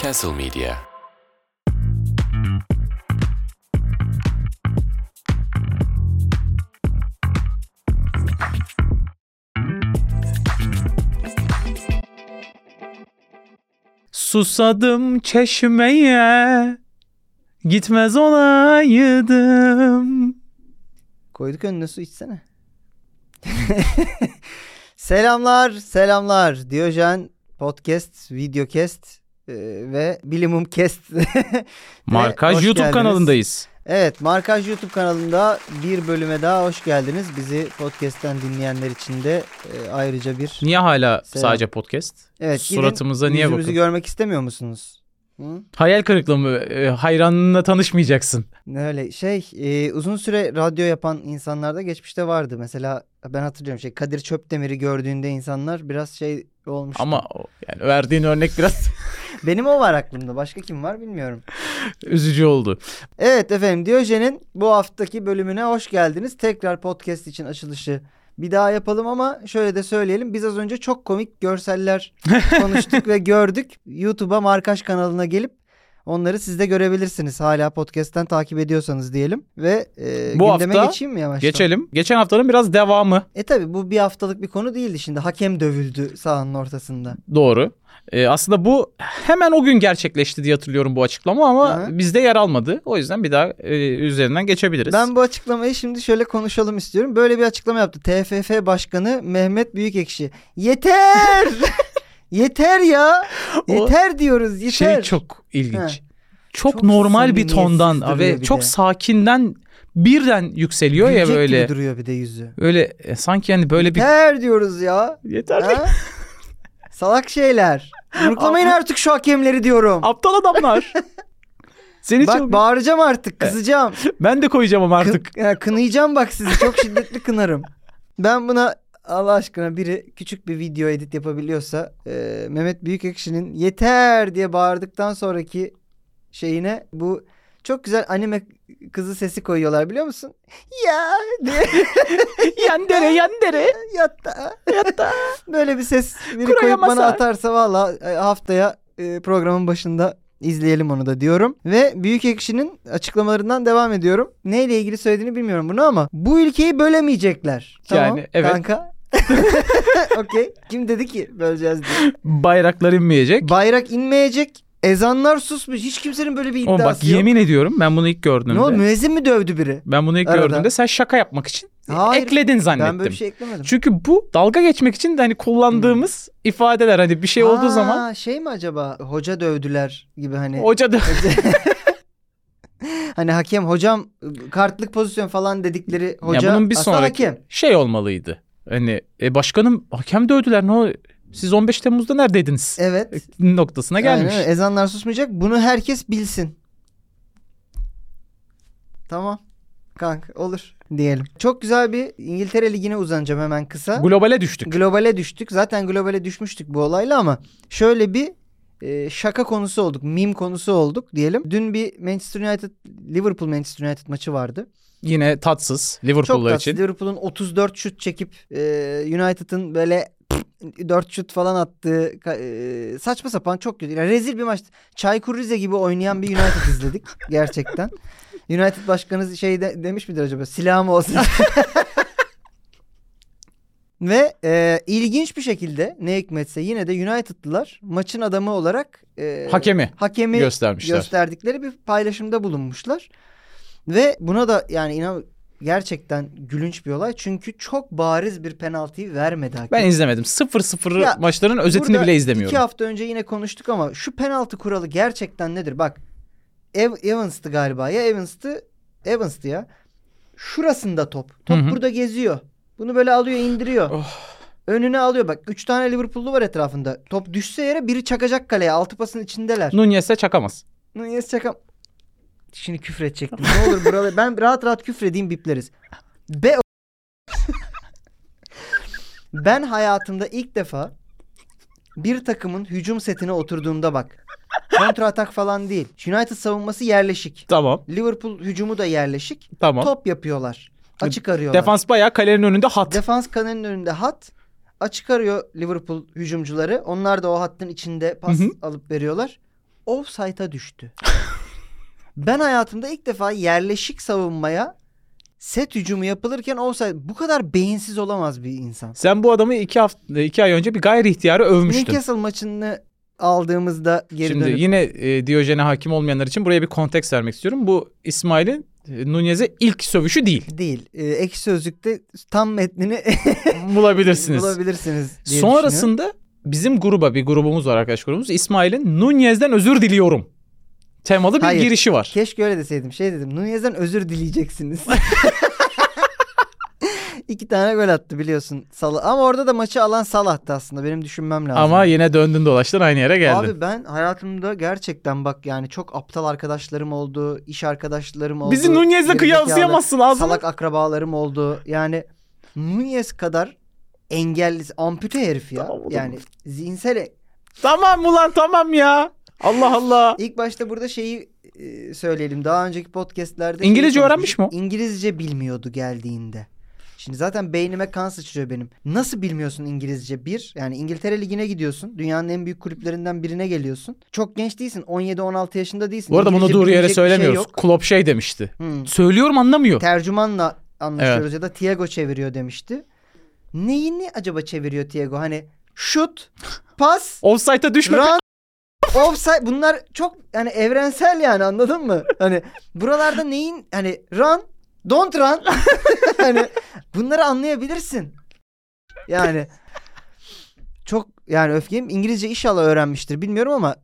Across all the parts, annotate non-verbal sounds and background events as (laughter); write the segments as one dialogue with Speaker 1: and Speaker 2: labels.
Speaker 1: Castle Media.
Speaker 2: Susadım çeşmeye Gitmez olaydım
Speaker 3: Koyduk önüne su içsene. (laughs) selamlar, selamlar. Diyojen Podcast, Videocast e, ve Bilimum Cast.
Speaker 2: Markaj
Speaker 3: hoş
Speaker 2: YouTube
Speaker 3: geldiniz.
Speaker 2: kanalındayız.
Speaker 3: (laughs) evet, Markaj YouTube kanalında bir bölüme daha hoş geldiniz. Bizi podcast'ten dinleyenler için de e, ayrıca bir...
Speaker 2: Niye hala
Speaker 3: Selam.
Speaker 2: sadece podcast?
Speaker 3: Evet, gidin,
Speaker 2: Suratımıza niye
Speaker 3: yüzümüzü
Speaker 2: bakın?
Speaker 3: görmek istemiyor musunuz? Hı?
Speaker 2: Hayal kırıklığı mı? Ee, hayranınla tanışmayacaksın.
Speaker 3: Ne öyle şey e, uzun süre radyo yapan insanlarda geçmişte vardı. Mesela ben hatırlıyorum şey Kadir Çöpdemir'i gördüğünde insanlar biraz şey olmuş.
Speaker 2: Ama o- yani verdiğin örnek biraz (laughs)
Speaker 3: Benim o var aklımda. Başka kim var bilmiyorum.
Speaker 2: üzücü oldu.
Speaker 3: Evet efendim Diyojen'in bu haftaki bölümüne hoş geldiniz. Tekrar podcast için açılışı bir daha yapalım ama şöyle de söyleyelim. Biz az önce çok
Speaker 2: (laughs)
Speaker 3: komik görseller konuştuk ve gördük. YouTube'a Markaş kanalına gelip onları siz de görebilirsiniz. Hala podcast'ten takip ediyorsanız diyelim. Ve e,
Speaker 2: Bu
Speaker 3: gündeme
Speaker 2: hafta
Speaker 3: geçeyim mi yavaştan?
Speaker 2: Geçelim. Geçen haftanın biraz devamı.
Speaker 3: E tabi bu bir haftalık bir konu değildi şimdi. Hakem dövüldü sahanın ortasında.
Speaker 2: Doğru. Ee, aslında bu hemen o gün gerçekleşti diye hatırlıyorum bu açıklama ama
Speaker 3: Hı.
Speaker 2: bizde yer almadı. O yüzden bir daha e, üzerinden geçebiliriz.
Speaker 3: Ben bu açıklamayı şimdi şöyle konuşalım istiyorum. Böyle bir açıklama yaptı. TFF Başkanı Mehmet Büyükekşi. Yeter! (laughs) yeter ya!
Speaker 2: O
Speaker 3: Yeter diyoruz yeter.
Speaker 2: Şey çok ilginç.
Speaker 3: He.
Speaker 2: Çok,
Speaker 3: Çok
Speaker 2: normal bir
Speaker 3: samimiyetsiz
Speaker 2: tondan
Speaker 3: duruyor
Speaker 2: ve
Speaker 3: bir
Speaker 2: çok
Speaker 3: de.
Speaker 2: sakinden birden yükseliyor
Speaker 3: Gülecek
Speaker 2: ya
Speaker 3: gibi
Speaker 2: böyle.
Speaker 3: duruyor bir de yüzü.
Speaker 2: Öyle e, sanki yani böyle bir
Speaker 3: Yeter diyoruz ya.
Speaker 2: yeter.
Speaker 3: Ha? Salak şeyler. Yumruklamayın artık şu hakemleri diyorum.
Speaker 2: Aptal
Speaker 3: (laughs)
Speaker 2: adamlar. Seni
Speaker 3: Bak
Speaker 2: çok
Speaker 3: (laughs) bağıracağım artık kızacağım.
Speaker 2: ben de koyacağım ama (laughs)
Speaker 3: Kı-
Speaker 2: artık.
Speaker 3: ya kınayacağım bak sizi çok şiddetli kınarım. Ben buna Allah aşkına biri küçük bir video edit yapabiliyorsa e, Mehmet Büyükekşi'nin yeter diye bağırdıktan sonraki şeyine bu çok güzel anime kızı sesi koyuyorlar biliyor musun? Ya diye
Speaker 2: yandere yandere.
Speaker 3: yatta yatta (laughs) böyle bir ses biri koyup
Speaker 2: Kurayamasa.
Speaker 3: bana atarsa valla e, haftaya e, programın başında izleyelim onu da diyorum. Ve Büyük Ekşi'nin açıklamalarından devam ediyorum. Neyle ilgili söylediğini bilmiyorum bunu ama bu ülkeyi bölemeyecekler. Tamam
Speaker 2: Yani, evet.
Speaker 3: kanka. (laughs) Okey. Kim dedi ki böleceğiz diye.
Speaker 2: Bayraklar inmeyecek.
Speaker 3: Bayrak inmeyecek. Ezanlar susmuş. Hiç kimsenin böyle bir
Speaker 2: Oğlum
Speaker 3: iddiası
Speaker 2: bak
Speaker 3: yok.
Speaker 2: yemin ediyorum ben bunu ilk
Speaker 3: ne
Speaker 2: gördüğümde.
Speaker 3: oldu? Müezzin mi dövdü biri?
Speaker 2: ben bunu ilk
Speaker 3: Arada.
Speaker 2: gördüğümde sen şaka yapmak için
Speaker 3: Hayır.
Speaker 2: ekledin zannettim.
Speaker 3: Ben böyle bir şey eklemedim.
Speaker 2: E, Çünkü bu dalga geçmek için de hani kullandığımız
Speaker 3: Hmm.
Speaker 2: ifadeler hani bir şey olduğu
Speaker 3: Ha,
Speaker 2: zaman
Speaker 3: şey mi acaba? Hoca dövdüler gibi hani.
Speaker 2: hoca da
Speaker 3: hani hakem hocam kartlık pozisyon falan dedikleri
Speaker 2: Ya
Speaker 3: hoca
Speaker 2: bunun bir
Speaker 3: aslında
Speaker 2: sonraki
Speaker 3: hakem.
Speaker 2: şey olmalıydı. Hani e, başkanım hakem dövdüler ne oluyor? Siz 15 Temmuz'da neredeydiniz? E,
Speaker 3: Evet.
Speaker 2: noktasına gelmiş.
Speaker 3: Aynen öyle. ezanlar susmayacak. Bunu herkes bilsin. Tamam. Kanka olur diyelim. Çok güzel bir İngiltere Ligi'ne uzanacağım hemen kısa.
Speaker 2: Globale düştük.
Speaker 3: Globale düştük. Zaten globale düşmüştük bu olayla ama şöyle bir e, şaka konusu olduk. Meme konusu olduk diyelim. Dün bir Manchester United Liverpool Manchester United maçı vardı.
Speaker 2: Yine tatsız
Speaker 3: Çok
Speaker 2: Liverpool'lar
Speaker 3: tatsız.
Speaker 2: için.
Speaker 3: Liverpool'un 34 şut çekip e, United'ın böyle (clears throat) 4 şut falan attığı ka- e, saçma sapan çok kötü. Yani rezil bir maç. Çaykur Rize gibi oynayan
Speaker 2: (laughs)
Speaker 3: bir United izledik gerçekten. United başkanı şey de- demiş midir acaba? Silahım olsun. (laughs) Ve e, ilginç bir şekilde ne hikmetse yine de United'lılar maçın adamı olarak e,
Speaker 2: Hakemi
Speaker 3: hakemi
Speaker 2: göstermişler.
Speaker 3: gösterdikleri bir paylaşımda bulunmuşlar. Ve buna da yani inan gerçekten gülünç bir olay. Çünkü çok bariz bir penaltıyı vermedi hakem.
Speaker 2: ben izlemedim. 0-0
Speaker 3: Ya,
Speaker 2: maçların özetini
Speaker 3: Burada
Speaker 2: bile izlemiyorum.
Speaker 3: İki hafta önce yine konuştuk ama şu penaltı kuralı gerçekten nedir? Bak Ev- Evans'tı galiba ya Evans'tı Evans'tı ya. Şurasında top. Top
Speaker 2: Hı Oh. hı.
Speaker 3: burada geziyor. Bunu böyle alıyor indiriyor. Önüne alıyor bak. Üç tane Liverpool'lu var etrafında. Top düşse yere biri çakacak kaleye. Altı pasın içindeler.
Speaker 2: Nunez'e çakamaz.
Speaker 3: Nunez Çakam. Şimdi küfür edecektim. Ne olur buraları. Ben rahat rahat küfür edeyim bipleriz. Be (laughs) ben hayatımda ilk defa bir takımın hücum setine oturduğumda bak. Kontra atak falan değil. United savunması yerleşik.
Speaker 2: Tamam
Speaker 3: Liverpool hücumu da yerleşik.
Speaker 2: tamam.
Speaker 3: Top yapıyorlar. Açık arıyorlar.
Speaker 2: Defans bayağı kalenin önünde hat.
Speaker 3: Defans kanalının önünde hat. Açık arıyor Liverpool hücumcuları. Onlar da o hattın içinde pas
Speaker 2: Hı hı.
Speaker 3: alıp veriyorlar. offside'a düştü. (laughs) ben hayatımda ilk defa yerleşik savunmaya set hücumu yapılırken offside bu kadar beyinsiz olamaz bir insan.
Speaker 2: Sen bu adamı iki hafta iki ay önce bir gayri ihtiyarı övmüştün.
Speaker 3: Newcastle maçını aldığımızda geri
Speaker 2: Şimdi
Speaker 3: dönüp
Speaker 2: yine e, Diyojen'e hakim olmayanlar için buraya bir konteks vermek istiyorum. Bu İsmail'in e, Nunez'e ilk sövüşü
Speaker 3: (laughs)
Speaker 2: değil.
Speaker 3: değil. Ee, ekşi sözlükte tam metnini (laughs)
Speaker 2: Bulabilirsiniz.
Speaker 3: bulabilirsiniz. diye düşünüyorum.
Speaker 2: Sonrasında bizim gruba bir grubumuz var arkadaş grubumuz. İsmail'in Nunez'den özür diliyorum temalı bir
Speaker 3: Hayır.
Speaker 2: girişi var.
Speaker 3: Keşke öyle deseydim. Şey dedim. Nunez'den özür dileyeceksiniz.
Speaker 2: (laughs)
Speaker 3: İki tane gol attı biliyorsun Salah. Ama orada da maçı alan Salah'tı aslında. Benim düşünmem lazım.
Speaker 2: Ama yine döndün dolaştın aynı yere geldin.
Speaker 3: Abi ben hayatımda gerçekten bak yani çok aptal arkadaşlarım oldu, iş arkadaşlarım oldu.
Speaker 2: Bizi Nunez'le
Speaker 3: gerizekalı,
Speaker 2: kıyaslayamazsın ağzını.
Speaker 3: Salak akrabalarım oldu. Yani Nunez kadar engelli, ampute herif ya.
Speaker 2: Tamam oğlum.
Speaker 3: yani zihinsel
Speaker 2: Tamam ulan tamam ya. Allah Allah.
Speaker 3: İlk başta burada şeyi e, söyleyelim. Daha önceki podcastlerde... şeyi
Speaker 2: İngilizce
Speaker 3: konuşmuştuk.
Speaker 2: öğrenmiş mi o?
Speaker 3: İngilizce bilmiyordu geldiğinde. Şimdi zaten beynime kan sıçrıyor benim. Nasıl bilmiyorsun İngilizce? Bir, yani İngiltere Ligi'ne gidiyorsun. Dünyanın en büyük kulüplerinden birine geliyorsun. Çok genç değilsin. 17-16 yaşında değilsin.
Speaker 2: Bu arada bunu
Speaker 3: İngilizce
Speaker 2: doğru yere
Speaker 3: bilecek bir şey
Speaker 2: söylemiyoruz.
Speaker 3: yok.
Speaker 2: Klopp şey demişti.
Speaker 3: Hmm.
Speaker 2: Söylüyorum anlamıyor.
Speaker 3: Tercümanla anlaşıyoruz ya da Thiago çeviriyor demişti. Neyini acaba çeviriyor Thiago? Hani şut, pas,
Speaker 2: Offside'a düşme.
Speaker 3: Run, offside bunlar çok yani evrensel yani anladın mı? Hani buralarda neyin hani run, don't run. (laughs) hani bunları anlayabilirsin. Yani çok yani öfkeyim İngilizce inşallah öğrenmiştir bilmiyorum ama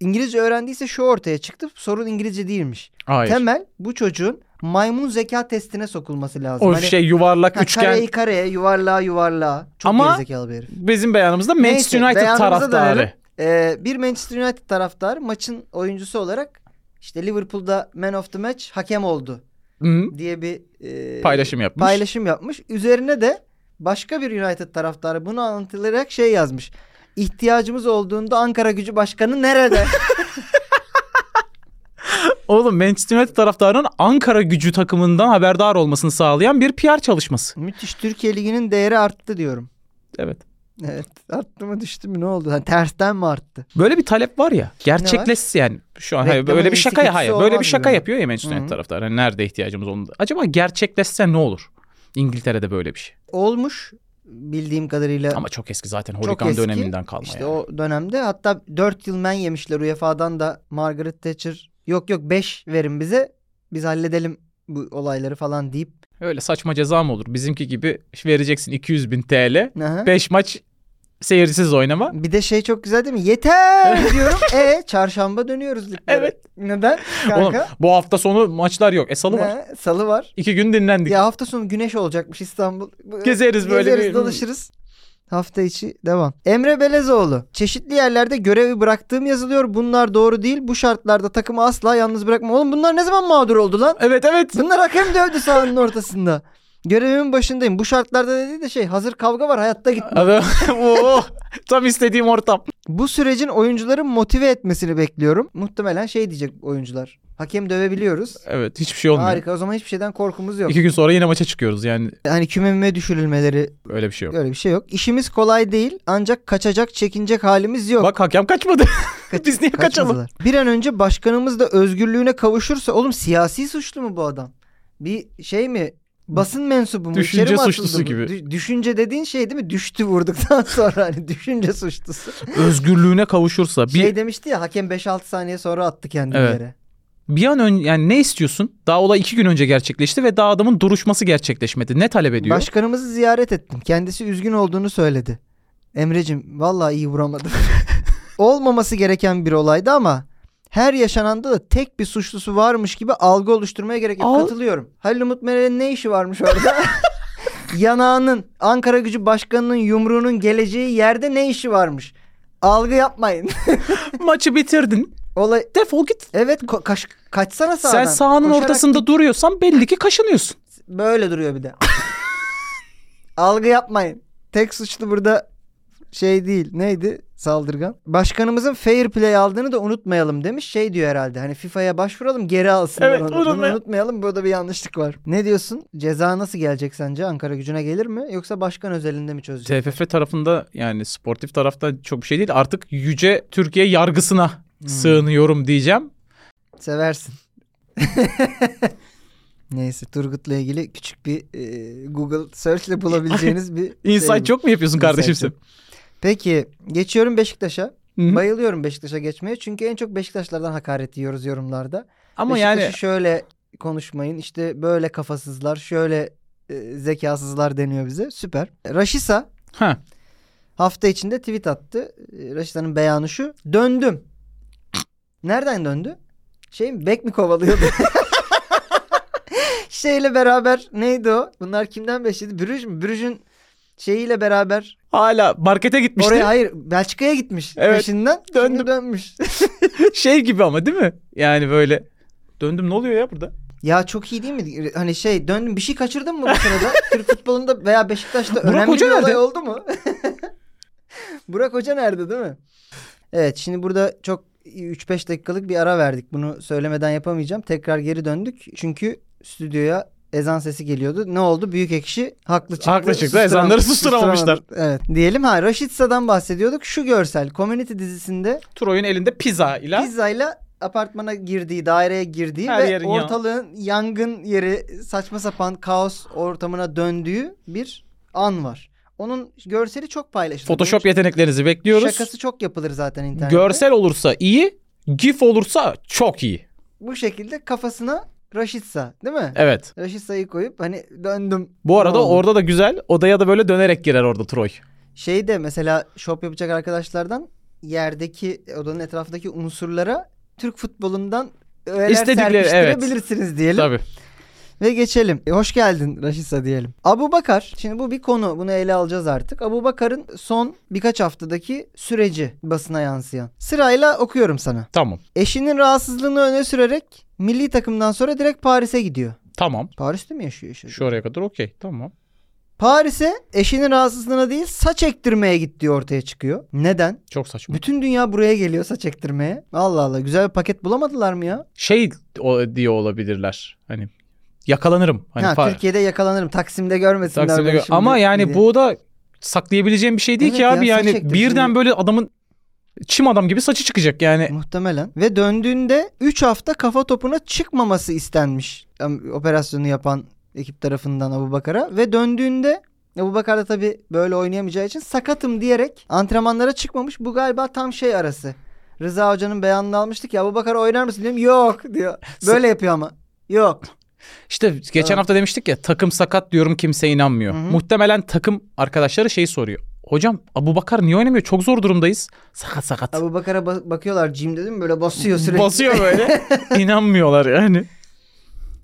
Speaker 3: İngilizce öğrendiyse şu ortaya çıktı sorun İngilizce değilmiş.
Speaker 2: Hayır.
Speaker 3: Temel bu çocuğun maymun zeka testine sokulması lazım.
Speaker 2: o
Speaker 3: Hani,
Speaker 2: şey yuvarlak
Speaker 3: ha,
Speaker 2: üçgen.
Speaker 3: Kareyi kareye yuvarlağa yuvarlağa. Çok
Speaker 2: Ama-
Speaker 3: zekalı bir herif.
Speaker 2: Bizim beyanımızda Manchester
Speaker 3: Neyse,
Speaker 2: United
Speaker 3: beyanımıza dönelim.
Speaker 2: taraftarı.
Speaker 3: Ee, bir Manchester United taraftar maçın oyuncusu olarak işte Liverpool'da man of the match hakem oldu
Speaker 2: Hı,
Speaker 3: diye bir e,
Speaker 2: Paylaşım yapmış.
Speaker 3: paylaşım yapmış. Üzerine de başka bir United taraftarı bunu anlatılarak şey yazmış. İhtiyacımız olduğunda Ankara Gücü Başkanı nerede?
Speaker 2: Oğlum Manchester United taraftarının Ankara gücü takımından haberdar olmasını sağlayan bir PR çalışması.
Speaker 3: Müthiş Türkiye Ligi'nin değeri arttı diyorum.
Speaker 2: Evet.
Speaker 3: Evet arttı mı düştü mü ne oldu? Ha, tersten mi arttı?
Speaker 2: Böyle bir talep var ya. Gerçekleşsin yani. Şu an hayır,
Speaker 3: Reklamın
Speaker 2: böyle bir şaka ya
Speaker 3: inisiyatifçisi
Speaker 2: hayır. Böyle
Speaker 3: olmaz
Speaker 2: bir şaka
Speaker 3: gibi.
Speaker 2: yapıyor ya Manchester
Speaker 3: Hı hı.
Speaker 2: United taraftarı. Hani nerede ihtiyacımız onda. Acaba gerçekleşse ne olur? İngiltere'de böyle bir şey.
Speaker 3: Olmuş bildiğim kadarıyla.
Speaker 2: Ama çok eski zaten
Speaker 3: Çok
Speaker 2: Holikan
Speaker 3: eski.
Speaker 2: döneminden kalma
Speaker 3: İşte
Speaker 2: yani.
Speaker 3: o dönemde hatta 4 yıl men yemişler UEFA'dan da Margaret Thatcher yok yok 5 verin bize biz halledelim bu olayları falan deyip.
Speaker 2: Öyle saçma ceza mı olur? Bizimki gibi vereceksin 200 bin TL.
Speaker 3: Aha.
Speaker 2: 5 maç seyirsiz oynama.
Speaker 3: Bir de şey çok güzel değil mi?
Speaker 2: (laughs)
Speaker 3: Yeter diyorum. e çarşamba dönüyoruz liglere.
Speaker 2: Evet.
Speaker 3: Neden
Speaker 2: Oğlum
Speaker 3: kanka?
Speaker 2: bu hafta sonu maçlar yok. E salı var.
Speaker 3: Ne? Salı var.
Speaker 2: 2 gün dinlendik.
Speaker 3: Ya hafta sonu güneş olacakmış İstanbul. Bu-
Speaker 2: Gezeriz böyle
Speaker 3: Gezeriz
Speaker 2: bir-
Speaker 3: dolaşırız. Hafta içi devam. Emre Belezoğlu. Çeşitli yerlerde görevi bıraktığım yazılıyor. Bunlar doğru değil. Bu şartlarda takımı asla yalnız bırakma. Oğlum bunlar ne zaman mağdur oldu lan?
Speaker 2: Evet evet.
Speaker 3: Bunlar hakem dövdü sahanın ortasında. Görevimin başındayım. Bu şartlarda dediği de şey hazır kavga var hayatta git.
Speaker 2: Adam, (laughs) Oo, tam istediğim ortam.
Speaker 3: Bu sürecin oyuncuların motive etmesini bekliyorum. Muhtemelen şey diyecek oyuncular. Hakem dövebiliyoruz.
Speaker 2: Evet hiçbir şey olmuyor.
Speaker 3: Harika o zaman hiçbir şeyden korkumuz yok.
Speaker 2: İki gün sonra yine maça çıkıyoruz yani
Speaker 3: Hani kümeme düşürülmeleri
Speaker 2: öyle bir şey yok.
Speaker 3: öyle bir şey yok. İşimiz kolay değil ancak kaçacak çekinecek halimiz yok.
Speaker 2: Bak hakem
Speaker 3: (laughs)
Speaker 2: kaçmadı.
Speaker 3: Kaç-
Speaker 2: Biz niye kaçalım?
Speaker 3: Kaçmadılar. Bir an önce başkanımız da özgürlüğüne kavuşursa oğlum siyasi suçlu mu bu adam? Bir şey mi? Basın mensubu mu?
Speaker 2: Düşünce
Speaker 3: İçeri mi atıldı
Speaker 2: suçlusu
Speaker 3: bu?
Speaker 2: gibi.
Speaker 3: Dü- düşünce dediğin şey değil mi? Düştü vurduktan (laughs) sonra hani düşünce suçlusu.
Speaker 2: Özgürlüğüne kavuşursa bir
Speaker 3: Şey demişti ya hakem 5-6 saniye sonra attı kendini
Speaker 2: Evet.
Speaker 3: yere.
Speaker 2: bir an önce yani ne istiyorsun? Daha olay iki gün önce gerçekleşti ve daha adamın duruşması gerçekleşmedi. Ne talep ediyor?
Speaker 3: Başkanımızı ziyaret ettim. Kendisi üzgün olduğunu söyledi. Emrecim vallahi iyi vuramadım. (laughs) Olmaması gereken bir olaydı ama her yaşananda da tek bir suçlusu varmış gibi algı oluşturmaya gerek yok.
Speaker 2: Al-
Speaker 3: Katılıyorum. Halil Umut Meral'in ne işi
Speaker 2: (laughs)
Speaker 3: varmış orada? Yanağının, Ankara Gücü Başkanı'nın yumruğunun geleceği yerde ne işi varmış? Algı yapmayın.
Speaker 2: (laughs)
Speaker 3: (laughs)
Speaker 2: Maçı bitirdin.
Speaker 3: Olay
Speaker 2: Defol git.
Speaker 3: Evet ko- kaç- kaçsana
Speaker 2: Sen
Speaker 3: sağdan.
Speaker 2: sahanın
Speaker 3: Koşarak
Speaker 2: ortasında duruyorsan belli ki
Speaker 3: (laughs)
Speaker 2: kaşınıyorsun.
Speaker 3: Böyle duruyor bir de. Algı yapmayın. Tek suçlu burada şey değil. Neydi? Saldırgan. Başkanımızın fair play aldığını da unutmayalım demiş. Şey diyor herhalde. Hani FIFA'ya başvuralım geri alsınlar
Speaker 2: Evet,
Speaker 3: onu. Bunu
Speaker 2: unutmayalım.
Speaker 3: unutmayalım. Burada bir yanlışlık var. Ne diyorsun? Ceza nasıl gelecek sence? Ankara gücüne gelir mi? Yoksa başkan özelinde mi çözecek?
Speaker 2: TFF tarafında yani sportif tarafta çok bir şey değil. Artık yüce Türkiye yargısına
Speaker 3: Hmm.
Speaker 2: sığınıyorum diyeceğim.
Speaker 3: Seversin. (laughs) Neyse Turgut'la ilgili küçük bir e, Google search ile bulabileceğiniz bir
Speaker 2: İnsan
Speaker 3: şey bu.
Speaker 2: çok mu yapıyorsun
Speaker 3: İnsan
Speaker 2: kardeşim sen?
Speaker 3: çok. Peki geçiyorum Beşiktaş'a.
Speaker 2: Hı.
Speaker 3: Bayılıyorum Beşiktaş'a geçmeye. Çünkü en çok Beşiktaşlardan hakaret yiyoruz yorumlarda.
Speaker 2: Ama
Speaker 3: Beşiktaş'ı
Speaker 2: yani
Speaker 3: şöyle konuşmayın. işte böyle kafasızlar, şöyle e, zekasızlar deniyor bize. Süper. Raşisa
Speaker 2: ha
Speaker 3: hafta içinde tweet attı. E, Raşisa'nın beyanı şu. Döndüm. Nereden döndü? Şey mi? Bek mi kovalıyordu? (laughs) Şeyle beraber neydi o? Bunlar kimden beşledi? Brüj mü? Brüj'ün şeyiyle beraber
Speaker 2: hala markete gitmişti.
Speaker 3: oraya hayır Belçika'ya gitmiş
Speaker 2: Evet.
Speaker 3: peşinden. Şimdi
Speaker 2: Döndüm.
Speaker 3: dönmüş.
Speaker 2: (laughs)
Speaker 3: (laughs)
Speaker 2: şey gibi ama değil mi? Yani böyle döndüm ne oluyor ya burada?
Speaker 3: Ya çok iyi değil mi? Hani şey döndüm bir şey kaçırdın mı bu
Speaker 2: (laughs)
Speaker 3: sırada? Türk futbolunda veya Beşiktaş'ta
Speaker 2: Burak
Speaker 3: önemli
Speaker 2: Hoca
Speaker 3: bir olay
Speaker 2: nerede?
Speaker 3: oldu mu? (laughs) Burak Hoca nerede değil mi? Evet şimdi burada çok 3-5 dakikalık bir ara verdik. Bunu söylemeden yapamayacağım. Tekrar geri döndük. Çünkü stüdyoya ezan sesi geliyordu. Ne oldu? Büyük ekşi haklı çıktı.
Speaker 2: Haklı çıktı.
Speaker 3: Susturam-
Speaker 2: Ezanları susturamamışlar.
Speaker 3: susturamadı. Evet. Diyelim ha Raşitsa'dan bahsediyorduk. Şu görsel Community dizisinde
Speaker 2: Troy'un elinde pizza ile
Speaker 3: pizzayla apartmana girdiği, daireye girdiği
Speaker 2: Her
Speaker 3: ve
Speaker 2: yerin yan-
Speaker 3: ortalığın yangın yeri saçma sapan kaos ortamına döndüğü bir an var. Onun görseli çok paylaşılır.
Speaker 2: Photoshop
Speaker 3: Bunun
Speaker 2: yeteneklerinizi bekliyoruz.
Speaker 3: Şakası çok yapılır zaten internette.
Speaker 2: Görsel olursa iyi, GIF olursa çok iyi.
Speaker 3: Bu şekilde kafasına Raşitsa değil mi?
Speaker 2: Evet.
Speaker 3: Raşitsa'yı koyup hani döndüm.
Speaker 2: Bu arada
Speaker 3: Ne oldu?
Speaker 2: orada da güzel. Odaya da böyle dönerek girer orada Troy.
Speaker 3: Şeyde Şey mesela şop yapacak arkadaşlardan yerdeki odanın etrafındaki unsurlara Türk futbolundan öğeler
Speaker 2: İstedikleri, evet.
Speaker 3: serpiştirebilirsiniz diyelim.
Speaker 2: Tabii.
Speaker 3: Ve geçelim. E, hoş geldin Raşisa diyelim. Abu Bakar. Şimdi bu bir konu. Bunu ele alacağız artık. Abu Bakar'ın son birkaç haftadaki süreci basına yansıyan. Sırayla okuyorum sana.
Speaker 2: Tamam.
Speaker 3: Eşinin rahatsızlığını öne sürerek milli takımdan sonra direkt Paris'e gidiyor.
Speaker 2: Tamam.
Speaker 3: Paris'te mi yaşıyor işte?
Speaker 2: Şu oraya kadar okey. Tamam.
Speaker 3: Paris'e eşinin rahatsızlığına değil saç ektirmeye gittiği ortaya çıkıyor. Neden?
Speaker 2: Çok saçma.
Speaker 3: Bütün dünya buraya geliyor saç ektirmeye. Allah Allah güzel bir paket bulamadılar mı ya?
Speaker 2: Şey o, diye olabilirler. Hani yakalanırım. Hani
Speaker 3: ha,
Speaker 2: fa-
Speaker 3: Türkiye'de yakalanırım. Taksim'de görmesinler.
Speaker 2: Taksim'de
Speaker 3: beni
Speaker 2: gö-
Speaker 3: şimdi
Speaker 2: Ama yani
Speaker 3: diye.
Speaker 2: bu da saklayabileceğim bir şey değil
Speaker 3: Evet
Speaker 2: ki
Speaker 3: ya,
Speaker 2: abi.
Speaker 3: saç
Speaker 2: yani
Speaker 3: ektim
Speaker 2: birden
Speaker 3: şimdi.
Speaker 2: böyle adamın çim adam gibi saçı çıkacak yani.
Speaker 3: Muhtemelen. Ve döndüğünde 3 hafta kafa topuna çıkmaması istenmiş Am- operasyonu yapan ekip tarafından Abu Bakar'a. Ve döndüğünde Abu Bakar da tabii böyle oynayamayacağı için sakatım diyerek antrenmanlara çıkmamış. Bu galiba tam şey arası. Rıza Hoca'nın beyanını almıştık ya Abu Bakar oynar mısın diyorum.
Speaker 2: (laughs)
Speaker 3: Yok diyor. Böyle yapıyor ama. Yok.
Speaker 2: İşte geçen
Speaker 3: Evet.
Speaker 2: hafta demiştik ya takım sakat diyorum kimse inanmıyor.
Speaker 3: Hı hı.
Speaker 2: Muhtemelen takım arkadaşları şeyi soruyor. Hocam Abu Bakar niye oynamıyor? Çok zor durumdayız. Sakat sakat.
Speaker 3: Abu Bakar'a ba- bakıyorlar Jim dedim böyle basıyor sürekli.
Speaker 2: Basıyor
Speaker 3: (laughs)
Speaker 2: böyle. İnanmıyorlar yani.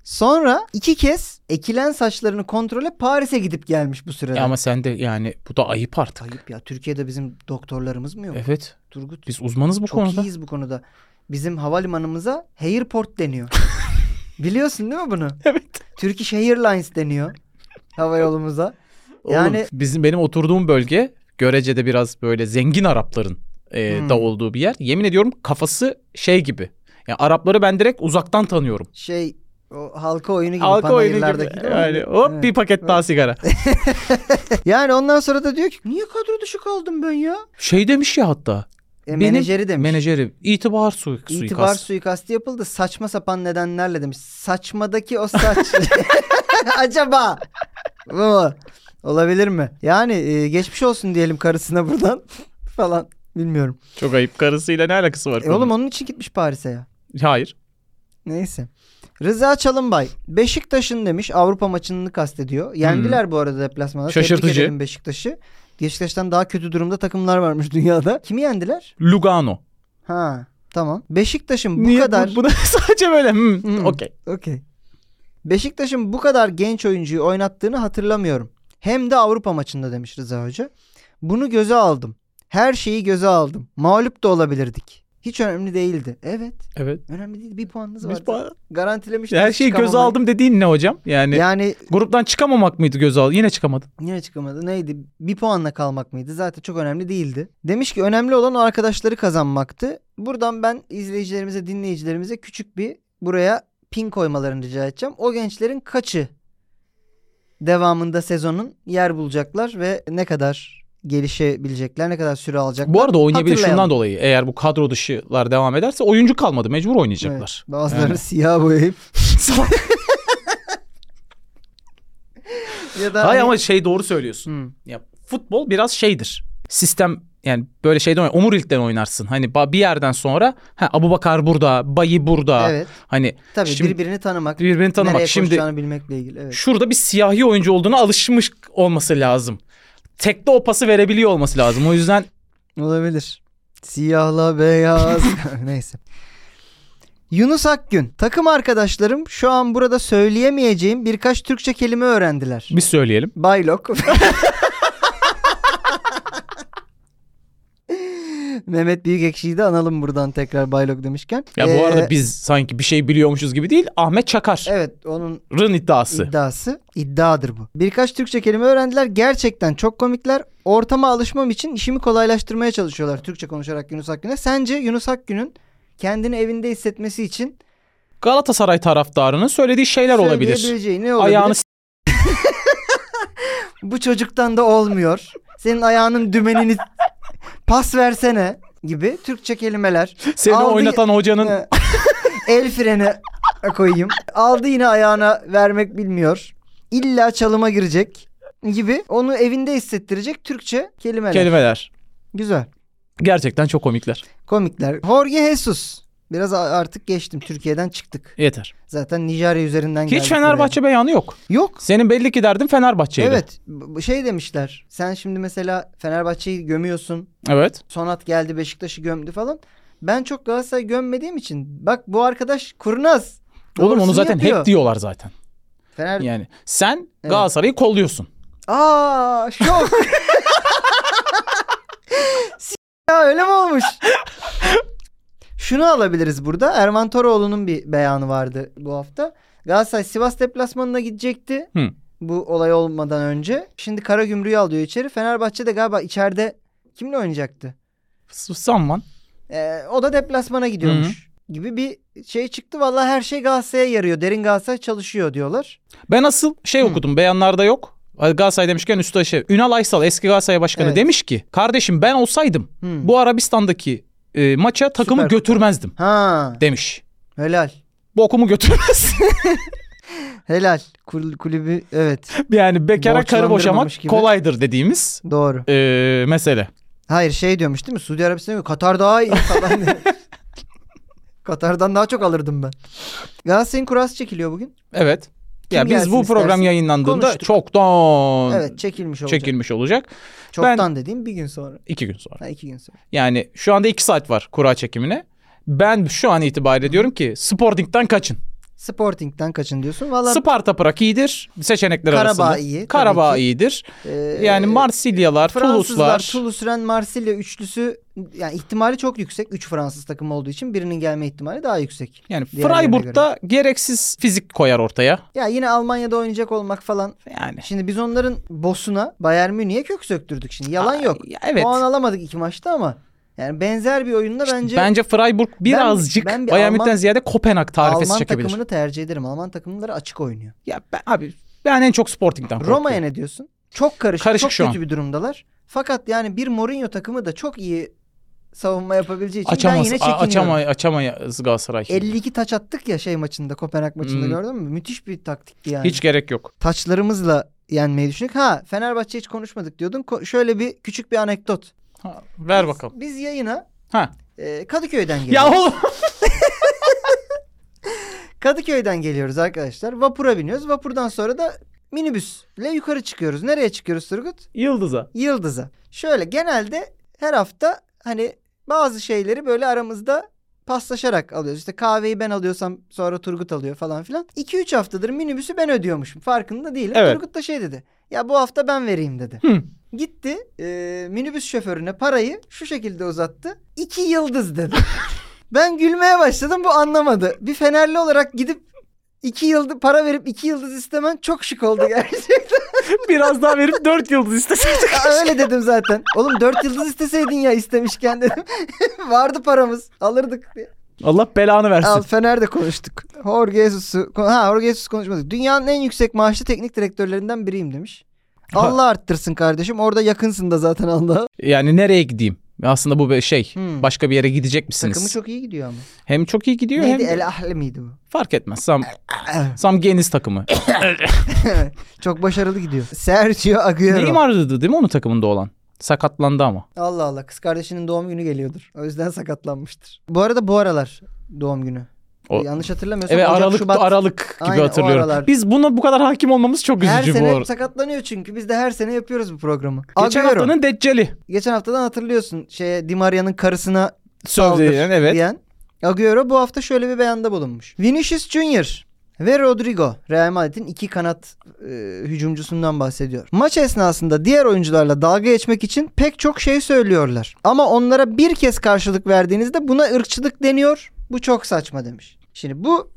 Speaker 3: Sonra iki kez ekilen saçlarını kontrole Paris'e gidip gelmiş bu sürede.
Speaker 2: Ya ama sen de yani bu da ayıp artık.
Speaker 3: Ayıp ya. Türkiye'de bizim doktorlarımız mı yok?
Speaker 2: Evet.
Speaker 3: Turgut.
Speaker 2: Biz uzmanız bu
Speaker 3: Çok
Speaker 2: konuda.
Speaker 3: iyiyiz bu konuda. Bizim havalimanımıza
Speaker 2: (laughs)
Speaker 3: Airport deniyor. Biliyorsun değil mi bunu?
Speaker 2: Evet.
Speaker 3: Turkish Airlines deniyor havayolumuza. Yani-
Speaker 2: Yani bizim benim oturduğum bölge Görece'de biraz böyle zengin Arapların e,
Speaker 3: Hmm.
Speaker 2: da olduğu bir yer. Yemin ediyorum kafası şey gibi. Yani Arapları ben direkt uzaktan tanıyorum.
Speaker 3: Şey o halka oyunu gibi
Speaker 2: Halka oyunu
Speaker 3: panayırlardaki
Speaker 2: gibi.
Speaker 3: değil mi?
Speaker 2: Yani hop
Speaker 3: Evet.
Speaker 2: bir paket daha sigara.
Speaker 3: Yani ondan sonra da diyor ki niye kadro dışı kaldım ben ya?
Speaker 2: Şey demiş ya hatta.
Speaker 3: E,
Speaker 2: Benim
Speaker 3: menajeri demiş.
Speaker 2: Menajeri itibar su
Speaker 3: İtibar
Speaker 2: suikast.
Speaker 3: suikastı yapıldı saçma sapan nedenlerle demiş. Saçmadaki o saç. (laughs) Acaba bu mu? olabilir mi? Yani e, geçmiş olsun diyelim karısına buradan (laughs) falan. Bilmiyorum.
Speaker 2: Çok ayıp karısıyla ne alakası var?
Speaker 3: E oğlum onun için gitmiş Paris'e ya.
Speaker 2: Hayır.
Speaker 3: Neyse. Rıza Çalınbay. Beşiktaş'ın demiş Avrupa maçını kastediyor. Yendiler bu arada deplasmanda. Tebrik
Speaker 2: Hmm. Şaşırtıcı.
Speaker 3: edelim Beşiktaş'ı. Beşiktaş'tan daha kötü durumda takımlar varmış dünyada. Kimi yendiler?
Speaker 2: Lugano.
Speaker 3: Ha tamam. Beşiktaş'ın bu
Speaker 2: Niye
Speaker 3: kadar...
Speaker 2: Bu, bu da (laughs) sadece böyle. hmm,
Speaker 3: Hmm.
Speaker 2: Okey.
Speaker 3: Okey. Beşiktaş'ın bu kadar genç oyuncuyu oynattığını hatırlamıyorum. Hem de Avrupa maçında demiş Rıza Hoca. Bunu göze aldım. Her şeyi göze aldım. Mağlup da olabilirdik. Hiç önemli değildi. Evet.
Speaker 2: Evet.
Speaker 3: Önemli değil. Bir
Speaker 2: Biz
Speaker 3: puanınız vardı.
Speaker 2: ba-
Speaker 3: Garantilemiştiniz.
Speaker 2: her şeyi göze
Speaker 3: çıkamamayı.
Speaker 2: aldım dediğin ne hocam? Yani,
Speaker 3: Yani
Speaker 2: gruptan çıkamamak mıydı göze al? Yine çıkamadın.
Speaker 3: yine çıkamadı. Neydi? Bir puanla kalmak mıydı? Zaten çok önemli değildi. Demiş ki önemli olan o arkadaşları kazanmaktı. Buradan ben izleyicilerimize, dinleyicilerimize küçük bir buraya pin koymalarını rica edeceğim. O gençlerin kaçı devamında sezonun yer bulacaklar ve ne kadar gelişebilecekler, ne kadar süre alacaklar.
Speaker 2: Bu arada oynayabilir
Speaker 3: Hatırlayalım.
Speaker 2: şundan dolayı. Eğer bu kadro dışılar devam ederse oyuncu kalmadı. Mecbur oynayacaklar.
Speaker 3: Evet, bazılarını
Speaker 2: Yani.
Speaker 3: siyah boyayıp (laughs)
Speaker 2: Salak.
Speaker 3: ya da hani-
Speaker 2: Hayır ama şey doğru söylüyorsun.
Speaker 3: Hı.
Speaker 2: Ya futbol biraz şeydir. Sistem yani böyle şey şeyden oyn- omurilikten oynarsın. Hani ba- bir yerden sonra ha Abubakar burada, Bayi burada.
Speaker 3: Evet.
Speaker 2: Hani
Speaker 3: Tabii
Speaker 2: Şimdi-
Speaker 3: birbirini tanımak,
Speaker 2: birbirini tanımak.
Speaker 3: nereye
Speaker 2: Şimdi
Speaker 3: koşacağını bilmekle ilgili. Evet.
Speaker 2: şurada bir siyahi oyuncu olduğuna alışmış olması lazım. Tekte o pası verebiliyor olması lazım. O yüzden
Speaker 3: Olabilir. Siyahla beyaz. (laughs) Neyse. Yunus Akgün. Takım arkadaşlarım şu an burada söyleyemeyeceğim birkaç Türkçe kelime öğrendiler.
Speaker 2: biz söyleyelim.
Speaker 3: Baylok. (laughs) Mehmet Büyükekşi'yi de analım buradan tekrar Baylok demişken.
Speaker 2: Ya bu
Speaker 3: Ee,
Speaker 2: arada biz sanki bir şey biliyormuşuz gibi değil. Ahmet Çakar'ın
Speaker 3: Evet onun
Speaker 2: iddiası.
Speaker 3: iddiası iddiadır bu. Birkaç Türkçe kelime öğrendiler. Gerçekten çok komikler. Ortama alışmam için işimi kolaylaştırmaya çalışıyorlar Türkçe konuşarak Yunus Akgün'e. Sence Yunus Akgün'ün kendini evinde hissetmesi için
Speaker 2: Galatasaray taraftarının söylediği şeyler olabilir.
Speaker 3: söyleyebileceği ne şey olabilir?
Speaker 2: Ayağını s-
Speaker 3: Bu çocuktan da olmuyor. Senin ayağının dümenini pas versene gibi Türkçe kelimeler.
Speaker 2: seni
Speaker 3: Aldı-
Speaker 2: oynatan hocanın
Speaker 3: Ee, El freni koyayım. Aldı yine ayağına vermek bilmiyor. İlla çalıma girecek gibi onu evinde hissettirecek Türkçe kelimeler.
Speaker 2: kelimeler.
Speaker 3: Güzel.
Speaker 2: Gerçekten çok komikler.
Speaker 3: Komikler. Jorge Jesus. Biraz a- artık geçtim. Türkiye'den çıktık.
Speaker 2: Yeter.
Speaker 3: Zaten Nijerya üzerinden geldik.
Speaker 2: Hiç Fenerbahçe beyanı yok.
Speaker 3: buraya. Yok.
Speaker 2: Senin belli ki derdin Fenerbahçe'ydi.
Speaker 3: Evet. Bu- Şey demişler. Sen şimdi mesela Fenerbahçe'yi gömüyorsun.
Speaker 2: Evet.
Speaker 3: Sonat geldi Beşiktaş'ı gömdü falan. Ben çok Galatasaray gömmediğim için. Bak bu arkadaş kurnaz.
Speaker 2: Oğlum onu
Speaker 3: Doğrusunu
Speaker 2: zaten
Speaker 3: yapıyor.
Speaker 2: hep diyorlar zaten.
Speaker 3: Fener...
Speaker 2: Yani sen Galatasaray'ı kolluyorsun.
Speaker 3: Aa şok. (laughs) S- ya öyle mi olmuş? Şunu alabiliriz burada. Erman Toroğlu'nun bir beyanı vardı bu hafta. Galatasaray Sivas deplasmanına gidecekti.
Speaker 2: Hı.
Speaker 3: Bu olay olmadan önce. Şimdi Karagümrük'ü alıyor içeri. Fenerbahçe de galiba içeride kimle oynayacaktı?
Speaker 2: Sanman.
Speaker 3: Ee, o da deplasmana gidiyormuş. Gibi bir şey çıktı. Vallahi her şey Galatasaray'a yarıyor. Derin Galatasaray çalışıyor diyorlar.
Speaker 2: Ben asıl şey okudum. Beyanlarda yok. Galatasaray demişken üstü şey. Ünal Aysal eski Galatasaray başkanı
Speaker 3: Evet.
Speaker 2: demiş ki kardeşim ben olsaydım
Speaker 3: Hı.
Speaker 2: bu Arabistan'daki e, maça takımı
Speaker 3: Süper Kupa.
Speaker 2: götürmezdim
Speaker 3: Ha
Speaker 2: demiş.
Speaker 3: helal.
Speaker 2: Bokumu götürmez.
Speaker 3: Helal. Kul- kulübü evet.
Speaker 2: yani bekara karı boşamak
Speaker 3: Borçlandırmamış gibi.
Speaker 2: kolaydır dediğimiz
Speaker 3: Doğru.
Speaker 2: e, mesele.
Speaker 3: Hayır şey diyormuş değil mi? Suudi Arabistan'a göre Katar daha iyi
Speaker 2: (laughs)
Speaker 3: falan. diye. Katar'dan daha çok alırdım ben. Galatasaray'ın kurası çekiliyor bugün.
Speaker 2: Evet.
Speaker 3: Kim
Speaker 2: ya biz
Speaker 3: gelsin
Speaker 2: bu
Speaker 3: istersin?
Speaker 2: program yayınlandığında
Speaker 3: Konuştuk.
Speaker 2: çoktan
Speaker 3: Evet çekilmiş olacak.
Speaker 2: çekilmiş olacak.
Speaker 3: Çoktan dediğim bir gün sonra.
Speaker 2: iki gün sonra.
Speaker 3: Ha, iki gün sonra.
Speaker 2: Yani şu anda iki saat var kura çekimine. Ben şu an itibariyle diyorum ki Sporting'den kaçın.
Speaker 3: Sporting'den kaçın diyorsun. Valla
Speaker 2: Sparta Prag iyidir seçenekler
Speaker 3: Karabağ
Speaker 2: arasında.
Speaker 3: iyi, tabii
Speaker 2: Karabağ
Speaker 3: ki.
Speaker 2: iyidir.
Speaker 3: e,
Speaker 2: Yani Marsilyalar,
Speaker 3: Fransızlar,
Speaker 2: Toulouse'lar.
Speaker 3: Toulouse, Rennes, Marsilya üçlüsü yani ihtimali çok yüksek. Üç Fransız takımı olduğu için birinin gelme ihtimali daha yüksek.
Speaker 2: Yani
Speaker 3: Diğerlerine
Speaker 2: Freiburg'da gereksiz fizik koyar ortaya.
Speaker 3: Ya yine Almanya'da oynayacak olmak falan.
Speaker 2: Yani.
Speaker 3: Şimdi biz onların bosuna Bayern Münih'e kök söktürdük şimdi. Yalan
Speaker 2: Aa,
Speaker 3: yok.
Speaker 2: ya Evet.
Speaker 3: Puan alamadık iki maçta ama yani benzer bir oyunda bence,
Speaker 2: Bence, Freiburg birazcık
Speaker 3: ben bir
Speaker 2: Bayern
Speaker 3: Alman-
Speaker 2: Münih'ten ziyade Kopenhag tarifesi
Speaker 3: Alman
Speaker 2: çekebilir.
Speaker 3: takımını tercih ederim. Alman takımları açık oynuyor.
Speaker 2: Ya ben, abi ben en çok Sporting'den korkuyorum.
Speaker 3: Roma'ya ne diyorsun? Çok karışık,
Speaker 2: Karışık
Speaker 3: çok
Speaker 2: şu
Speaker 3: kötü bir durumdalar. Fakat yani bir Mourinho takımı da çok iyi savunma yapabileceği için ben
Speaker 2: Açamaz,
Speaker 3: yine
Speaker 2: a-
Speaker 3: çekiniyorum.
Speaker 2: açamay, açamayız Galatasaray.
Speaker 3: 52 taç attık ya şey maçında, Kopenhag maçında
Speaker 2: Hmm.
Speaker 3: gördün mü? Müthiş bir taktikti yani.
Speaker 2: Hiç gerek yok.
Speaker 3: Taçlarımızla yenmeyi düşündük. Ha Fenerbahçe hiç konuşmadık diyordun. Ko- şöyle bir küçük bir anekdot.
Speaker 2: Ha, ver
Speaker 3: Biz-
Speaker 2: bakalım.
Speaker 3: Biz, yayına
Speaker 2: Ha.
Speaker 3: e,
Speaker 2: (laughs)
Speaker 3: Kadıköy'den geliyoruz.
Speaker 2: Ya oğlum.
Speaker 3: Kadıköy'den geliyoruz arkadaşlar. Vapura biniyoruz. Vapurdan sonra da minibüsle yukarı çıkıyoruz. Nereye çıkıyoruz Turgut?
Speaker 2: Yıldız'a.
Speaker 3: Yıldız'a. Şöyle genelde her hafta hani bazı şeyleri böyle aramızda paslaşarak alıyoruz. İşte kahveyi ben alıyorsam sonra Turgut alıyor falan filan. 2-3 haftadır minibüsü ben ödüyormuşum. Farkında değilim.
Speaker 2: Evet.
Speaker 3: Turgut da şey dedi. Ya bu hafta ben vereyim dedi.
Speaker 2: Hı.
Speaker 3: Gitti e, minibüs şoförüne parayı şu şekilde uzattı. İki yıldız dedi.
Speaker 2: (laughs)
Speaker 3: ben gülmeye başladım bu anlamadı. Bir Fenerli olarak gidip iki yıldız para verip iki yıldız istemen çok
Speaker 2: (laughs)
Speaker 3: şık oldu gerçekten.
Speaker 2: Biraz daha verip (laughs) 4 yıldız isteseydik.
Speaker 3: Ya Öyle dedim zaten. Oğlum dört yıldız isteseydin ya istemişken dedim. (laughs) Vardı paramız alırdık diye.
Speaker 2: Allah belanı versin.
Speaker 3: Al Fener'de konuştuk. Jorge Jesus'u ha Jorge Jesus konuşmadık. Dünyanın en yüksek maaşlı teknik direktörlerinden biriyim demiş. Allah arttırsın kardeşim. Orada yakınsın da zaten Allah'a.
Speaker 2: Yani nereye gideyim? Aslında bu bir şey.
Speaker 3: Hmm.
Speaker 2: Başka bir yere gidecek misiniz?
Speaker 3: Takımı çok iyi gidiyor ama.
Speaker 2: Hem çok iyi gidiyor
Speaker 3: Neydi?
Speaker 2: hem
Speaker 3: El Ahli miydi bu? (laughs)
Speaker 2: fark etmez. Sam Sam Geniz takımı.
Speaker 3: Çok başarılı gidiyor. Sergio Agüero.
Speaker 2: Neymar'dı değil mi onun takımında olan? Sakatlandı ama.
Speaker 3: Allah Allah. Kız kardeşinin doğum günü geliyordur. O yüzden sakatlanmıştır. Bu arada bu aralar doğum günü.
Speaker 2: O-
Speaker 3: Yanlış hatırlamıyorsam
Speaker 2: Evet
Speaker 3: Ocak,
Speaker 2: Aralık
Speaker 3: Şubat.
Speaker 2: Aralık gibi
Speaker 3: Aynen, o
Speaker 2: hatırlıyorum.
Speaker 3: aralar.
Speaker 2: Biz buna bu kadar hakim olmamız çok
Speaker 3: her
Speaker 2: üzücü bu
Speaker 3: sene
Speaker 2: arada.
Speaker 3: sakatlanıyor çünkü. Biz de her sene yapıyoruz bu programı.
Speaker 2: Geçen
Speaker 3: Agüero.
Speaker 2: haftanın Deccali.
Speaker 3: Geçen haftadan hatırlıyorsun. Şeye Di Maria'nın karısına
Speaker 2: Sövdü
Speaker 3: saldır
Speaker 2: yani, evet.
Speaker 3: diyen Agüero bu hafta şöyle bir beyanda bulunmuş. Vinicius Junior ve Rodrigo Real Madrid'in iki kanat e, hücumcusundan bahsediyor. Maç esnasında diğer oyuncularla dalga geçmek için pek çok şey söylüyorlar. Ama onlara bir kez karşılık verdiğinizde buna ırkçılık deniyor. Bu çok saçma demiş. Şimdi bu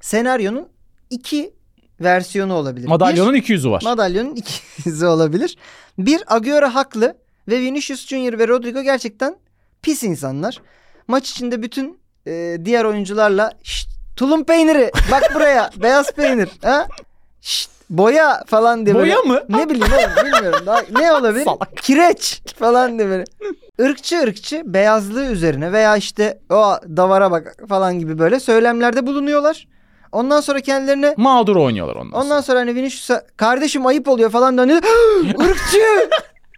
Speaker 3: senaryonun iki versiyonu olabilir. Bir-
Speaker 2: Madalyonun 200'ü var.
Speaker 3: Madalyonun ikisi olabilir. Bir Agüero haklı ve Vinicius Junior ve Rodrigo gerçekten pis insanlar. Maç içinde bütün e, diğer oyuncularla "Şşt, tulum peyniri bak buraya (laughs) beyaz peynir ha? Şşt, boya falan diye böyle-
Speaker 2: Boya mı?
Speaker 3: Ne bileyim oğlum bilmiyorum. Daha, ne olabilir?
Speaker 2: Salak.
Speaker 3: Kireç falan diye böyle. Irkçı ırkçı beyazlığı üzerine veya işte o davara bak falan gibi böyle söylemlerde bulunuyorlar. Ondan sonra kendilerine
Speaker 2: Mağdur oynuyorlar ondan, sonra.
Speaker 3: Ondan sonra hani Vinicius'a kardeşim ayıp oluyor falan
Speaker 2: (gasps)
Speaker 3: da hani ırkçı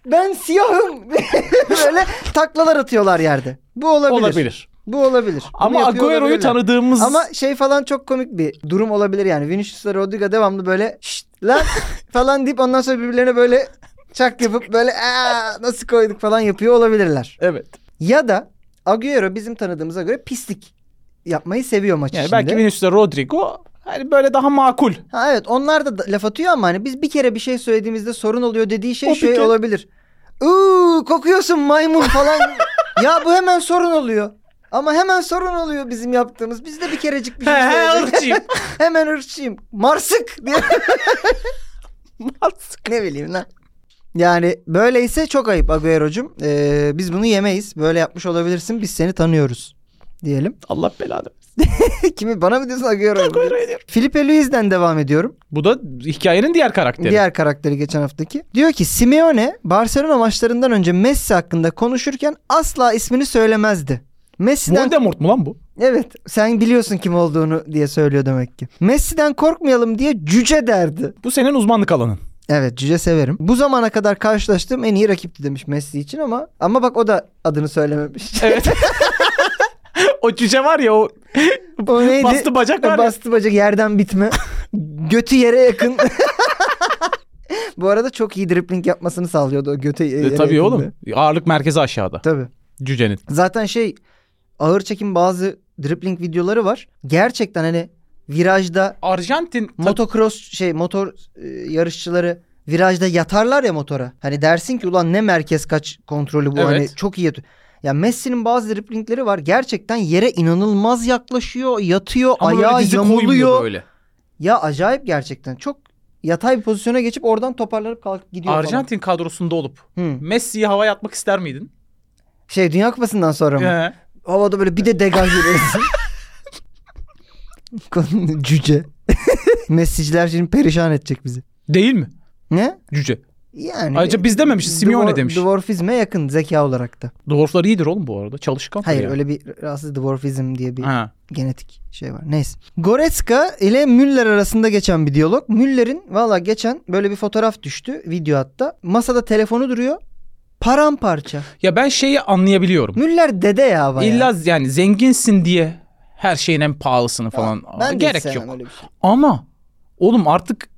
Speaker 3: ben siyahım (laughs) böyle taklalar atıyorlar yerde. Bu olabilir.
Speaker 2: Olabilir.
Speaker 3: Bu olabilir. Bunu
Speaker 2: Ama
Speaker 3: yapıyor
Speaker 2: Agüero'yu
Speaker 3: olabilirler.
Speaker 2: tanıdığımız
Speaker 3: ama şey falan çok komik bir durum olabilir yani. Vinicius'la Rodrigo devamlı böyle "Şşt lan
Speaker 2: (laughs)
Speaker 3: falan deyip ondan sonra birbirlerine böyle çak yapıp böyle "Aa, nasıl koyduk falan yapıyor olabilirler.
Speaker 2: evet.
Speaker 3: Ya da Agüero bizim tanıdığımıza göre pislik yapmayı seviyor maç
Speaker 2: Yani
Speaker 3: içinde.
Speaker 2: belki Vinicius'la Rodrigo hani böyle daha
Speaker 3: (laughs)
Speaker 2: makul.
Speaker 3: Ha evet onlar da da laf atıyor ama hani biz bir kere bir şey söylediğimizde sorun oluyor dediği şey
Speaker 2: O bir
Speaker 3: şey
Speaker 2: kere-
Speaker 3: olabilir. Uuu kokuyorsun maymun
Speaker 2: (laughs)
Speaker 3: falan. ya bu hemen sorun oluyor. Ama hemen sorun oluyor bizim yaptığımız. Biz de bir kerecik bir
Speaker 2: (laughs)
Speaker 3: şey
Speaker 2: He he
Speaker 3: söyledik.
Speaker 2: ırkçıyım.
Speaker 3: (laughs) hemen ırkçıyım. Marsık
Speaker 2: (laughs)
Speaker 3: diye. ne bileyim lan. Yani böyleyse çok ayıp Agüero'cum. Ee, biz bunu yemeyiz. Böyle yapmış olabilirsin. Biz seni tanıyoruz. Diyelim. (laughs)
Speaker 2: Allah belanı.
Speaker 3: Kimi bana mı diyorsun Agüero'ya mı diyorsun?
Speaker 2: Agüero'yu diyorum.
Speaker 3: Filipe Luiz'den devam ediyorum.
Speaker 2: Bu da hikayenin diğer karakteri.
Speaker 3: Diğer karakteri geçen haftaki. Diyor ki Simeone Barcelona maçlarından önce Messi hakkında konuşurken asla ismini söylemezdi. Messi'den
Speaker 2: Voldemort mu lan bu?
Speaker 3: evet sen biliyorsun kim olduğunu diye söylüyor demek ki. Messi'den korkmayalım diye cüce derdi.
Speaker 2: Bu senin uzmanlık
Speaker 3: (laughs)
Speaker 2: alanın.
Speaker 3: Evet cüce severim. Bu zamana kadar karşılaştığım en iyi rakipti demiş Messi için ama ama bak o da
Speaker 2: (laughs)
Speaker 3: adını söylememiş.
Speaker 2: Evet. o cüce var ya o
Speaker 3: o neydi?
Speaker 2: bastı bacak var ya.
Speaker 3: Bastı bacak
Speaker 2: (laughs)
Speaker 3: yerden bitme. Götü yere yakın. (laughs) Bu arada çok iyi dribbling yapmasını sağlıyordu o götü yere
Speaker 2: E, tabii
Speaker 3: yakında.
Speaker 2: oğlum. Ağırlık merkezi aşağıda.
Speaker 3: Tabii.
Speaker 2: Cücenin.
Speaker 3: Zaten şey ağır çekim bazı dribbling videoları var. Gerçekten hani virajda
Speaker 2: Arjantin ta-
Speaker 3: motocross şey motor e, yarışçıları virajda yatarlar ya motora. Hani dersin ki ulan ne merkez kaç kontrolü bu
Speaker 2: Evet.
Speaker 3: hani çok iyi yatıyor. Ya Messi'nin bazı driblingleri var. Gerçekten yere inanılmaz yaklaşıyor, yatıyor,
Speaker 2: ama böyle
Speaker 3: ayağı
Speaker 2: dizi koymuyor
Speaker 3: yamuluyor.
Speaker 2: böyle.
Speaker 3: Ya acayip gerçekten. Çok yatay bir pozisyona geçip oradan toparlanıp kalkıp gidiyor falan.
Speaker 2: Arjantin kadrosunda olup
Speaker 3: Hı.
Speaker 2: Messi'yi havaya atmak ister miydin?
Speaker 3: Şey Dünya Kupası'ndan sonra mı?
Speaker 2: Ee,
Speaker 3: Havada böyle bir de degaj veriyorsun. (laughs) Konu (laughs) Cüce. Mesajcılar şimdi perişan edecek bizi.
Speaker 2: Değil mi?
Speaker 3: Ne?
Speaker 2: Cüce.
Speaker 3: Yani.
Speaker 2: Ayrıca biz dememişiz. Simeone demiş.
Speaker 3: Dwarfizme yakın zeka olarak da.
Speaker 2: Dwarflar iyidir oğlum bu arada. Çalışkan.
Speaker 3: Hayır
Speaker 2: ya.
Speaker 3: öyle bir rahatsız dwarfizm diye bir
Speaker 2: Ha.
Speaker 3: genetik şey var. Neyse. Goretzka ile Müller arasında geçen bir diyalog. Müller'in valla geçen böyle bir fotoğraf düştü video hatta. Masada telefonu duruyor. Paramparça.
Speaker 2: Ya ben şeyi anlayabiliyorum.
Speaker 3: Müller dede ya bayağı.
Speaker 2: İlla yani zenginsin diye her şeyin en pahalısını falan.
Speaker 3: ben de
Speaker 2: Gerek
Speaker 3: istemem
Speaker 2: yok.
Speaker 3: öyle bir şey.
Speaker 2: Ama oğlum artık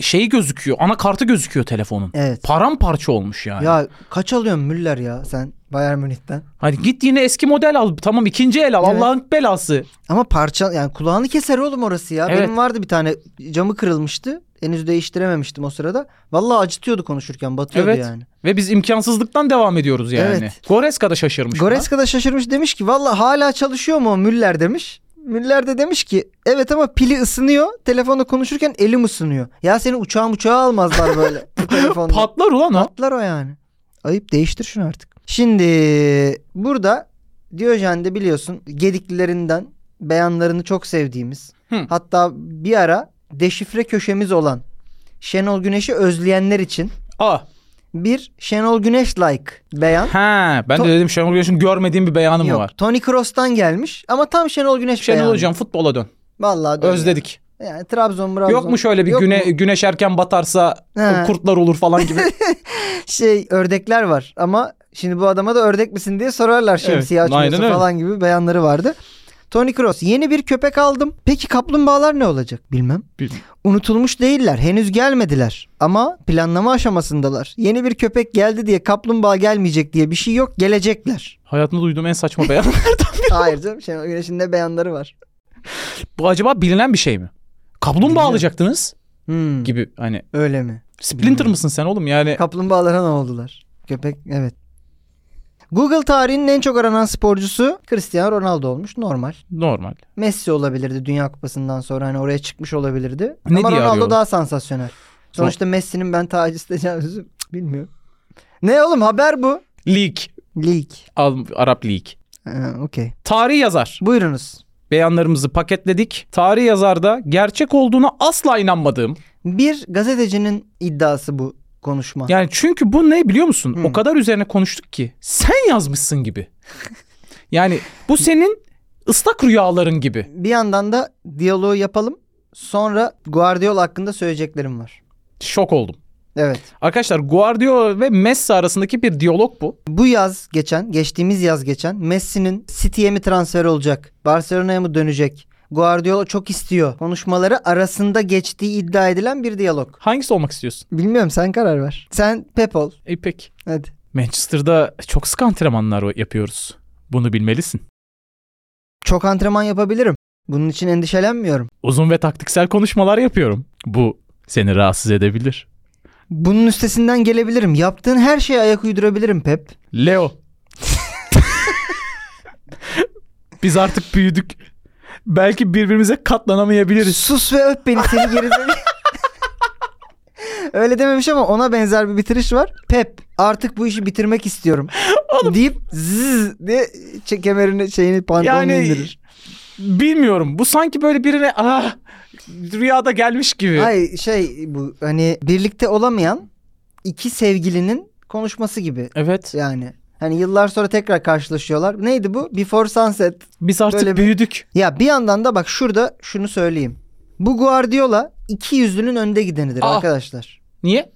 Speaker 2: şeyi gözüküyor. Anakartı gözüküyor telefonun.
Speaker 3: Evet.
Speaker 2: Paramparça olmuş yani.
Speaker 3: Ya kaç alıyorsun Müller ya sen Bayern Münih'ten?
Speaker 2: Hani git yine eski model al. Tamam ikinci el al.
Speaker 3: Evet.
Speaker 2: Allah'ın belası.
Speaker 3: Ama parça yani kulağını keser oğlum orası ya.
Speaker 2: Evet.
Speaker 3: Benim vardı bir tane camı kırılmıştı. Henüz değiştirememiştim o sırada. Vallahi acıtıyordu konuşurken batıyordu
Speaker 2: Evet.
Speaker 3: yani.
Speaker 2: Ve biz imkansızlıktan devam ediyoruz yani.
Speaker 3: Evet.
Speaker 2: Goretzka da şaşırmış. buna.
Speaker 3: Goretzka da şaşırmış demiş ki vallahi hala çalışıyor mu o Müller demiş. Müller de demiş ki evet ama pili ısınıyor. Telefonla konuşurken elim ısınıyor. Ya seni uçağa uçağa almazlar böyle
Speaker 2: (laughs)
Speaker 3: bu telefonla.
Speaker 2: Patlar ulan o.
Speaker 3: Patlar o yani. Ayıp değiştir şunu artık. Şimdi burada Diyojen de biliyorsun Gediklilerinden beyanlarını çok sevdiğimiz.
Speaker 2: Hı.
Speaker 3: Hatta bir ara deşifre köşemiz olan Şenol Güneş'i özleyenler için
Speaker 2: Aa.
Speaker 3: bir Şenol Güneş like beyan.
Speaker 2: Ha, ben
Speaker 3: To-
Speaker 2: de dedim Şenol Güneş'in görmediğim bir beyanı mı
Speaker 3: Yok,
Speaker 2: var?
Speaker 3: Tony Kroos'tan gelmiş ama tam Şenol Güneş
Speaker 2: Şenol
Speaker 3: beyanı.
Speaker 2: hocam futbola dön.
Speaker 3: Vallahi dönüyor.
Speaker 2: Özledik.
Speaker 3: Yani Trabzon, Trabzon.
Speaker 2: Yok mu şöyle bir
Speaker 3: Yok
Speaker 2: güne,
Speaker 3: mu?
Speaker 2: güneş erken batarsa
Speaker 3: He.
Speaker 2: kurtlar olur falan
Speaker 3: (laughs)
Speaker 2: gibi.
Speaker 3: şey ördekler var ama şimdi bu adama da ördek misin diye sorarlar şemsiye
Speaker 2: Evet,
Speaker 3: açmıyorsa
Speaker 2: aynen öyle.
Speaker 3: falan gibi beyanları vardı. Tony Kroos yeni bir köpek aldım. Peki kaplumbağalar ne olacak? Bilmem.
Speaker 2: Bilmem.
Speaker 3: Unutulmuş değiller. Henüz gelmediler. Ama planlama aşamasındalar. Yeni bir köpek geldi diye kaplumbağa gelmeyecek diye bir şey yok.
Speaker 2: (laughs)
Speaker 3: Gelecekler.
Speaker 2: Hayatımda duyduğum en saçma beyan. (laughs)
Speaker 3: Hayır canım. Şenol Güneş'in de beyanları var.
Speaker 2: Bu acaba bilinen bir şey mi? Kaplumbağa
Speaker 3: Bilmiyorum.
Speaker 2: alacaktınız
Speaker 3: Hmm,
Speaker 2: gibi hani.
Speaker 3: öyle mi?
Speaker 2: Splinter mısın sen oğlum yani?
Speaker 3: Kaplumbağalara ne oldular? Köpek evet. Google tarihinin en çok aranan sporcusu Cristiano Ronaldo olmuş. Normal.
Speaker 2: Normal.
Speaker 3: Messi olabilirdi Dünya Kupası'ndan sonra hani oraya çıkmış olabilirdi.
Speaker 2: Ne
Speaker 3: Ama
Speaker 2: diye
Speaker 3: Ronaldo
Speaker 2: arıyorlar?
Speaker 3: daha sansasyonel. Sonuçta Messi'nin ben taciz tecavüzü cık, bilmiyorum. Ne oğlum haber bu?
Speaker 2: League.
Speaker 3: Lig.
Speaker 2: Al- Arap League.
Speaker 3: Ee, Okey.
Speaker 2: Tarih yazar.
Speaker 3: Buyurunuz.
Speaker 2: Beyanlarımızı paketledik. Tarih yazarda gerçek olduğuna asla inanmadığım.
Speaker 3: Bir gazetecinin iddiası bu konuşma.
Speaker 2: Yani çünkü bu ne biliyor musun?
Speaker 3: Hmm.
Speaker 2: O kadar üzerine konuştuk ki sen yazmışsın gibi. yani bu senin ıslak rüyaların gibi.
Speaker 3: Bir yandan da diyaloğu yapalım. Sonra Guardiola hakkında söyleyeceklerim var.
Speaker 2: Şok oldum.
Speaker 3: Evet.
Speaker 2: Arkadaşlar Guardiola ve Messi arasındaki bir diyalog bu.
Speaker 3: Bu yaz geçen, geçtiğimiz yaz geçen Messi'nin City'ye mi transfer olacak? Barcelona'ya mı dönecek? Guardiola çok istiyor. Konuşmaları arasında geçtiği iddia edilen bir diyalog.
Speaker 2: Hangisi olmak istiyorsun?
Speaker 3: Bilmiyorum sen karar ver. Sen pep ol.
Speaker 2: E peki.
Speaker 3: Hadi.
Speaker 2: Manchester'da çok sık antrenmanlar yapıyoruz. Bunu bilmelisin.
Speaker 3: Çok antrenman yapabilirim. Bunun için endişelenmiyorum.
Speaker 2: Uzun ve taktiksel konuşmalar yapıyorum. Bu seni rahatsız edebilir.
Speaker 3: Bunun üstesinden gelebilirim. Yaptığın her şeye ayak uydurabilirim Pep.
Speaker 2: Leo. Biz artık büyüdük. Belki birbirimize katlanamayabiliriz.
Speaker 3: Sus ve öp beni seni geri Öyle dememiş ama ona benzer bir bitiriş var. Pep artık bu işi bitirmek istiyorum. Deyip zzz diye çe- kemerini şeyini pantolonunu
Speaker 2: Yani-
Speaker 3: indirir.
Speaker 2: Bilmiyorum. Bu sanki böyle birine ah rüyada gelmiş gibi.
Speaker 3: Ay şey bu hani birlikte olamayan iki sevgilinin konuşması gibi
Speaker 2: Evet.
Speaker 3: yani. Hani yıllar sonra tekrar karşılaşıyorlar. Neydi bu? Before Sunset.
Speaker 2: Biz artık
Speaker 3: Böyle bir-
Speaker 2: büyüdük.
Speaker 3: Ya bir yandan da bak şurada şunu söyleyeyim. Bu Guardiola iki yüzlünün önde gidenidir
Speaker 2: Aa.
Speaker 3: arkadaşlar.
Speaker 2: Niye?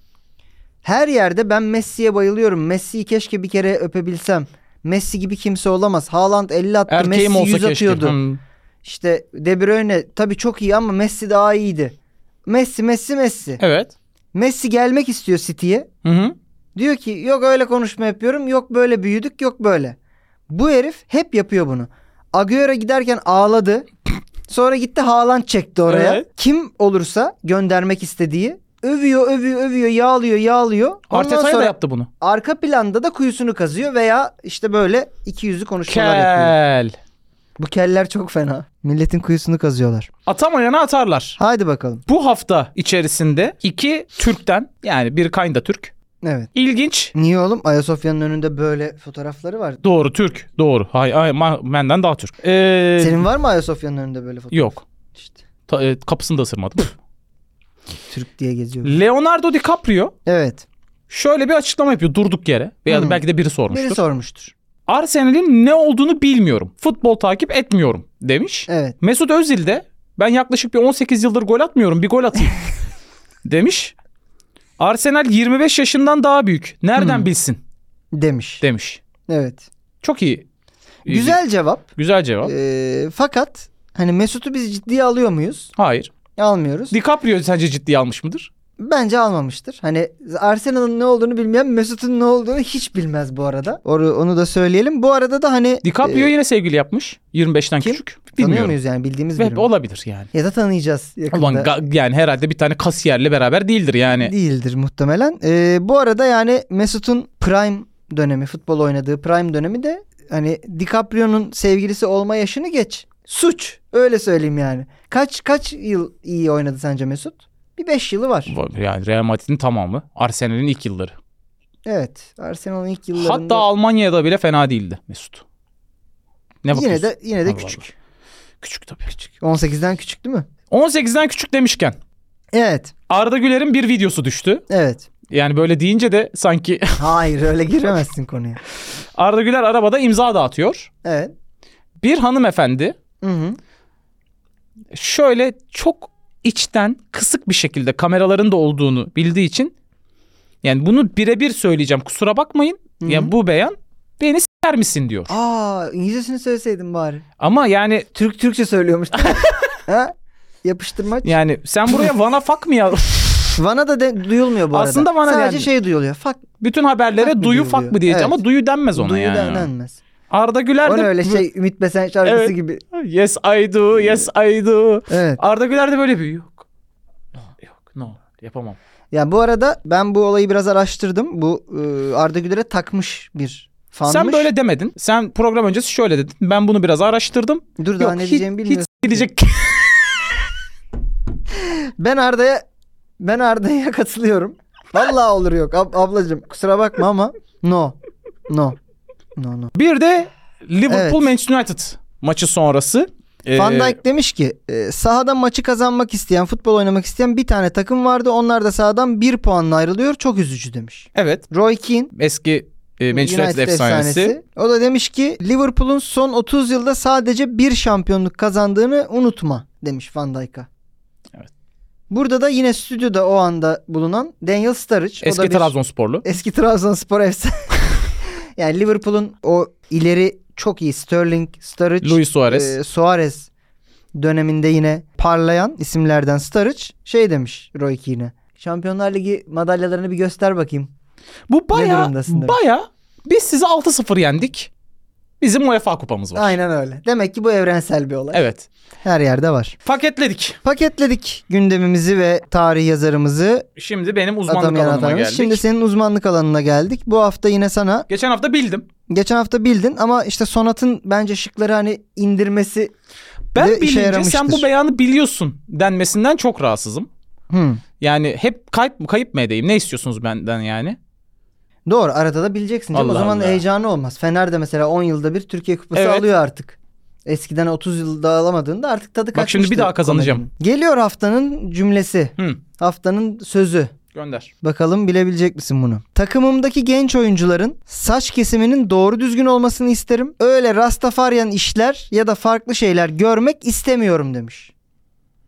Speaker 3: Her yerde ben Messi'ye bayılıyorum. Messi'yi keşke bir kere öpebilsem. Messi gibi kimse olamaz. Haaland 50 attı.
Speaker 2: Erkeğim
Speaker 3: Messi
Speaker 2: olsa
Speaker 3: 100
Speaker 2: keşke.
Speaker 3: atıyordu.
Speaker 2: Hmm.
Speaker 3: İşte De Bruyne tabii çok iyi ama Messi daha iyiydi. Messi Messi Messi.
Speaker 2: Evet.
Speaker 3: Messi gelmek istiyor City'ye.
Speaker 2: Hı hı.
Speaker 3: Diyor ki yok öyle konuşma yapıyorum. Yok böyle büyüdük yok böyle. Bu herif hep yapıyor bunu. Agüero giderken ağladı. Sonra gitti Haaland çekti oraya.
Speaker 2: Evet.
Speaker 3: Kim olursa göndermek istediği övüyor övüyor övüyor yağlıyor yağlıyor. Ondan
Speaker 2: Arteta'ya
Speaker 3: sonra
Speaker 2: da yaptı bunu.
Speaker 3: arka planda da kuyusunu kazıyor veya işte böyle iki yüzlü konuşmalar yapıyor.
Speaker 2: Kel.
Speaker 3: Bu keller çok fena. Milletin kuyusunu kazıyorlar.
Speaker 2: Atamayana atarlar.
Speaker 3: Haydi bakalım.
Speaker 2: Bu hafta içerisinde iki Türk'ten yani bir kinda Türk.
Speaker 3: Evet.
Speaker 2: İlginç.
Speaker 3: Niye oğlum? Ayasofya'nın önünde böyle fotoğrafları var.
Speaker 2: Doğru Türk. Doğru. Hay, hay ma- benden daha Türk. Ee,
Speaker 3: Senin var mı Ayasofya'nın önünde böyle fotoğraf?
Speaker 2: Yok.
Speaker 3: İşte
Speaker 2: Ta- e, kapısını da ısırmadım. (laughs)
Speaker 3: Türk diye geziyor.
Speaker 2: Leonardo DiCaprio
Speaker 3: Evet.
Speaker 2: şöyle bir açıklama yapıyor durduk yere. Veya
Speaker 3: Hmm.
Speaker 2: da belki de biri sormuştur.
Speaker 3: Biri sormuştur.
Speaker 2: Arsenal'in ne olduğunu bilmiyorum. Futbol takip etmiyorum demiş.
Speaker 3: Evet.
Speaker 2: Mesut Özil de ben yaklaşık bir 18 yıldır gol atmıyorum bir gol atayım (laughs) demiş. Arsenal 25 yaşından daha büyük. Nereden
Speaker 3: Hmm.
Speaker 2: bilsin
Speaker 3: Demiş.
Speaker 2: demiş.
Speaker 3: evet.
Speaker 2: Çok iyi. İyi-
Speaker 3: Güzel cevap.
Speaker 2: Güzel cevap.
Speaker 3: Ee, fakat hani Mesut'u biz ciddiye alıyor muyuz?
Speaker 2: Hayır.
Speaker 3: Almıyoruz.
Speaker 2: DiCaprio sence ciddiye almış mıdır?
Speaker 3: Bence almamıştır. Hani Arsenal'ın ne olduğunu bilmeyen Mesut'un ne olduğunu hiç bilmez bu arada. Onu, onu da söyleyelim. Bu arada da hani
Speaker 2: DiCaprio
Speaker 3: e,
Speaker 2: yine sevgili yapmış. 25'ten
Speaker 3: kim?
Speaker 2: küçük.
Speaker 3: tanıyor
Speaker 2: Bilmiyorum.
Speaker 3: muyuz yani bildiğimiz
Speaker 2: Ve
Speaker 3: biri mi?
Speaker 2: olabilir yani.
Speaker 3: Ya da tanıyacağız yakında.
Speaker 2: Ulan ga- yani herhalde bir tane kasiyerle beraber değildir yani.
Speaker 3: Değildir muhtemelen. E, bu arada yani Mesut'un prime dönemi, futbol oynadığı prime dönemi de hani DiCaprio'nun sevgilisi olma yaşını geç. Suç. Öyle söyleyeyim yani. Kaç kaç yıl iyi oynadı sence Mesut? Bir 5 yılı var.
Speaker 2: Yani Real Madrid'in tamamı. Arsenal'in ilk yılları.
Speaker 3: Evet. Arsenal'ın ilk yıllarında.
Speaker 2: Hatta Almanya'da bile fena değildi Mesut. Ne
Speaker 3: yine
Speaker 2: bakıyorsun?
Speaker 3: de yine de
Speaker 2: Allah
Speaker 3: küçük.
Speaker 2: Küçük tabii. Küçük.
Speaker 3: 18'den küçük değil mi?
Speaker 2: 18'den küçük demişken
Speaker 3: Evet.
Speaker 2: Arda Güler'in bir videosu düştü.
Speaker 3: Evet.
Speaker 2: Yani böyle deyince de sanki (laughs)
Speaker 3: Hayır öyle giremezsin konuya.
Speaker 2: Arda Güler arabada imza dağıtıyor.
Speaker 3: Evet.
Speaker 2: Bir hanımefendi
Speaker 3: Hı hı.
Speaker 2: şöyle çok içten kısık bir şekilde kameraların da olduğunu bildiği için yani bunu birebir söyleyeceğim kusura bakmayın.
Speaker 3: Hı hı.
Speaker 2: Yani bu beyan beni s**er misin diyor.
Speaker 3: Aa İngilizcesini söyleseydin bari.
Speaker 2: Ama yani
Speaker 3: Türk
Speaker 2: (laughs)
Speaker 3: Türkçe söylüyormuş. ha? Yapıştırmaç.
Speaker 2: yani sen
Speaker 3: (laughs)
Speaker 2: buraya vana fak mı ya?
Speaker 3: Vana da de- duyulmuyor bu arada.
Speaker 2: Aslında vana
Speaker 3: Sadece
Speaker 2: denmiyor.
Speaker 3: şey duyuluyor. Fak
Speaker 2: Bütün haberlere
Speaker 3: Fak mı
Speaker 2: duyu
Speaker 3: diyor
Speaker 2: fak
Speaker 3: diyor.
Speaker 2: mı diyeceğim
Speaker 3: Evet.
Speaker 2: ama duyu denmez ona
Speaker 3: duyu
Speaker 2: yani.
Speaker 3: da denmez.
Speaker 2: Arda Güler
Speaker 3: O
Speaker 2: de
Speaker 3: ne öyle şey Ümit Besen şarkısı
Speaker 2: Evet.
Speaker 3: gibi.
Speaker 2: (laughs) Yes I do, yes I do.
Speaker 3: Evet.
Speaker 2: Arda Güler de böyle bir yok. Yok, no. Yapamam.
Speaker 3: Ya bu arada ben bu olayı biraz araştırdım. Bu e, Arda Güler'e takmış bir fanmış.
Speaker 2: Sen böyle demedin. Sen program öncesi şöyle dedin. Ben bunu biraz araştırdım.
Speaker 3: Dur daha
Speaker 2: Yok,
Speaker 3: ne
Speaker 2: hiç-
Speaker 3: diyeceğimi
Speaker 2: hiç
Speaker 3: bilmiyorum.
Speaker 2: gidecek. (laughs)
Speaker 3: Ben Arda'ya ben Arda'ya (laughs) katılıyorum. Vallahi olur yok. Ab- ablacığım kusura bakma ama no. No. No no.
Speaker 2: Bir de Liverpool
Speaker 3: Evet.
Speaker 2: Manchester United maçı sonrası.
Speaker 3: Van
Speaker 2: Ee,
Speaker 3: Dijk demiş ki e, sahada maçı kazanmak isteyen, futbol oynamak isteyen bir tane takım vardı. Onlar da sahadan bir puanla ayrılıyor. Çok üzücü demiş.
Speaker 2: Evet.
Speaker 3: Roy Keane
Speaker 2: Eski e, Manchester United, efsanesi.
Speaker 3: O da demiş ki Liverpool'un son 30 yılda sadece bir şampiyonluk kazandığını unutma demiş Van Dijk'a.
Speaker 2: Evet.
Speaker 3: Burada da yine stüdyoda o anda bulunan Daniel Sturridge. o
Speaker 2: Eski
Speaker 3: da bir-
Speaker 2: Trabzonsporlu.
Speaker 3: Eski
Speaker 2: (laughs)
Speaker 3: Trabzonspor efsane. yani Liverpool'un o ileri çok iyi Sterling, Sturridge,
Speaker 2: Luis Suarez.
Speaker 3: e, Suarez döneminde yine parlayan isimlerden Sturridge şey demiş Roy Keane'e. Şampiyonlar Ligi madalyalarını bir göster bakayım.
Speaker 2: Bu baya
Speaker 3: durumdasın demek?
Speaker 2: baya biz sizi 6-0 yendik. Bizim UEFA kupamız var.
Speaker 3: Aynen öyle. Demek ki bu evrensel bir olay.
Speaker 2: Evet.
Speaker 3: Her yerde var.
Speaker 2: Paketledik.
Speaker 3: Paketledik gündemimizi ve tarih yazarımızı
Speaker 2: Şimdi benim uzmanlık
Speaker 3: adam
Speaker 2: alanıma
Speaker 3: yaratanımız.
Speaker 2: geldik.
Speaker 3: Şimdi senin uzmanlık alanına geldik. Bu hafta yine sana
Speaker 2: Geçen hafta bildim.
Speaker 3: geçen hafta bildin ama işte sonatın bence şıkları hani indirmesi
Speaker 2: Ben
Speaker 3: Ve işe
Speaker 2: bilince sen
Speaker 3: yaramıştır.
Speaker 2: bu beyanı biliyorsun denmesinden çok rahatsızım.
Speaker 3: Hmm.
Speaker 2: Yani hep kayıp mı kayıp mı edeyim? Ne istiyorsunuz benden yani?
Speaker 3: Doğru arada da bileceksin. canım.
Speaker 2: Allah
Speaker 3: o zaman
Speaker 2: Allah.
Speaker 3: heyecanı olmaz. Fener de mesela 10 yılda bir Türkiye Kupası
Speaker 2: Evet.
Speaker 3: alıyor artık. Eskiden 30 yılda alamadığında artık tadı kaçmıştı.
Speaker 2: Bak şimdi bir daha kazanacağım.
Speaker 3: komedinin. Geliyor haftanın cümlesi.
Speaker 2: Hı.
Speaker 3: Haftanın sözü.
Speaker 2: Gönder.
Speaker 3: Bakalım bilebilecek misin bunu? Takımımdaki genç oyuncuların saç kesiminin doğru düzgün olmasını isterim. Öyle rastafaryan işler ya da farklı şeyler görmek istemiyorum demiş.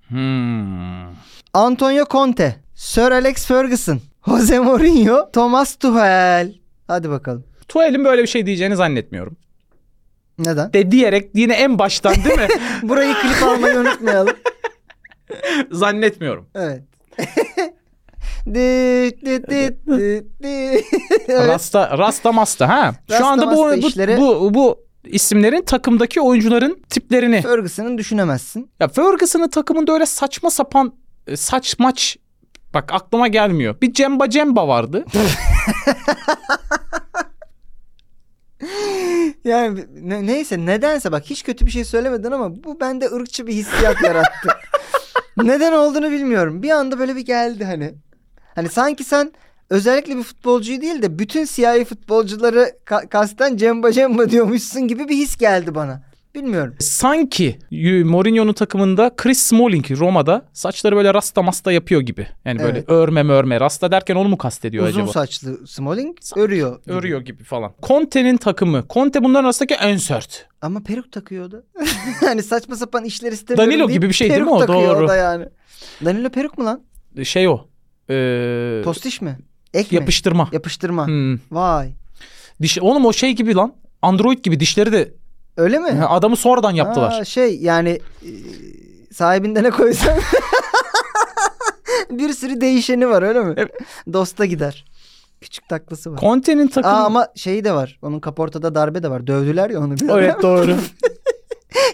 Speaker 2: Hmm.
Speaker 3: Antonio Conte, Sir Alex Ferguson, Jose Mourinho, Thomas Tuchel. Hadi bakalım.
Speaker 2: Tuhel'in böyle bir şey diyeceğini zannetmiyorum.
Speaker 3: Neden?
Speaker 2: De diyerek yine en baştan değil mi?
Speaker 3: (laughs)
Speaker 2: (laughs)
Speaker 3: Burayı klip almayı unutmayalım.
Speaker 2: zannetmiyorum.
Speaker 3: Evet. Düt düt düt düt düt. Evet.
Speaker 2: Rasta, Rasta Masta ha. Şu
Speaker 3: Rasta
Speaker 2: anda bu,
Speaker 3: Masta
Speaker 2: bu,
Speaker 3: işleri-
Speaker 2: bu, bu isimlerin takımdaki oyuncuların tiplerini.
Speaker 3: Ferguson'ın düşünemezsin.
Speaker 2: Ya Ferguson'ın takımında öyle saçma sapan e, saç maç bak aklıma gelmiyor. Bir Cemba Cemba
Speaker 3: (laughs)
Speaker 2: vardı. E,
Speaker 3: Yani ne- neyse nedense bak hiç kötü bir şey söylemedin ama bu bende ırkçı bir hissiyat yarattı. Neden olduğunu bilmiyorum. Bir anda böyle bir geldi hani. Hani sanki sen özellikle bir futbolcuyu değil de bütün siyahi futbolcuları ka- kasten cemba cemba diyormuşsun gibi bir his geldi bana. Bilmiyorum.
Speaker 2: Sanki y- Mourinho'nun takımında Chris Smalling Roma'da saçları böyle rasta masta yapıyor gibi. Yani böyle
Speaker 3: Evet.
Speaker 2: örme örme rasta derken onu mu kastediyor
Speaker 3: Uzun
Speaker 2: acaba?
Speaker 3: saçlı Smalling
Speaker 2: Saç-
Speaker 3: örüyor. gibi.
Speaker 2: Örüyor gibi falan. Conte'nin takımı. Conte bunların arasındaki en sert.
Speaker 3: Ama peruk takıyordu. (laughs) yani saçma sapan işler istemiyorum
Speaker 2: Danilo
Speaker 3: deyip
Speaker 2: gibi bir şey değil mi
Speaker 3: peruk
Speaker 2: o?
Speaker 3: takıyor
Speaker 2: Doğru.
Speaker 3: da yani. Danilo peruk mu lan?
Speaker 2: Şey o. Ee,
Speaker 3: Postiş mi? Ek mi?
Speaker 2: yapıştırma.
Speaker 3: Yapıştırma.
Speaker 2: Hmm.
Speaker 3: Vay.
Speaker 2: Diş, oğlum o şey gibi lan. Android gibi dişleri de
Speaker 3: Öyle mi?
Speaker 2: Ha, adamı sonradan yaptılar.
Speaker 3: Aa, şey yani e, sahibinde ne koysan (laughs) bir sürü değişeni var öyle mi?
Speaker 2: Evet.
Speaker 3: Dosta gider. Küçük taklası var.
Speaker 2: Conte'nin takımı.
Speaker 3: Aa, ama şeyi de var. Onun kaportada darbe de var. Dövdüler ya onu.
Speaker 2: (laughs)
Speaker 3: bir ara.
Speaker 2: Evet doğru.
Speaker 3: (laughs)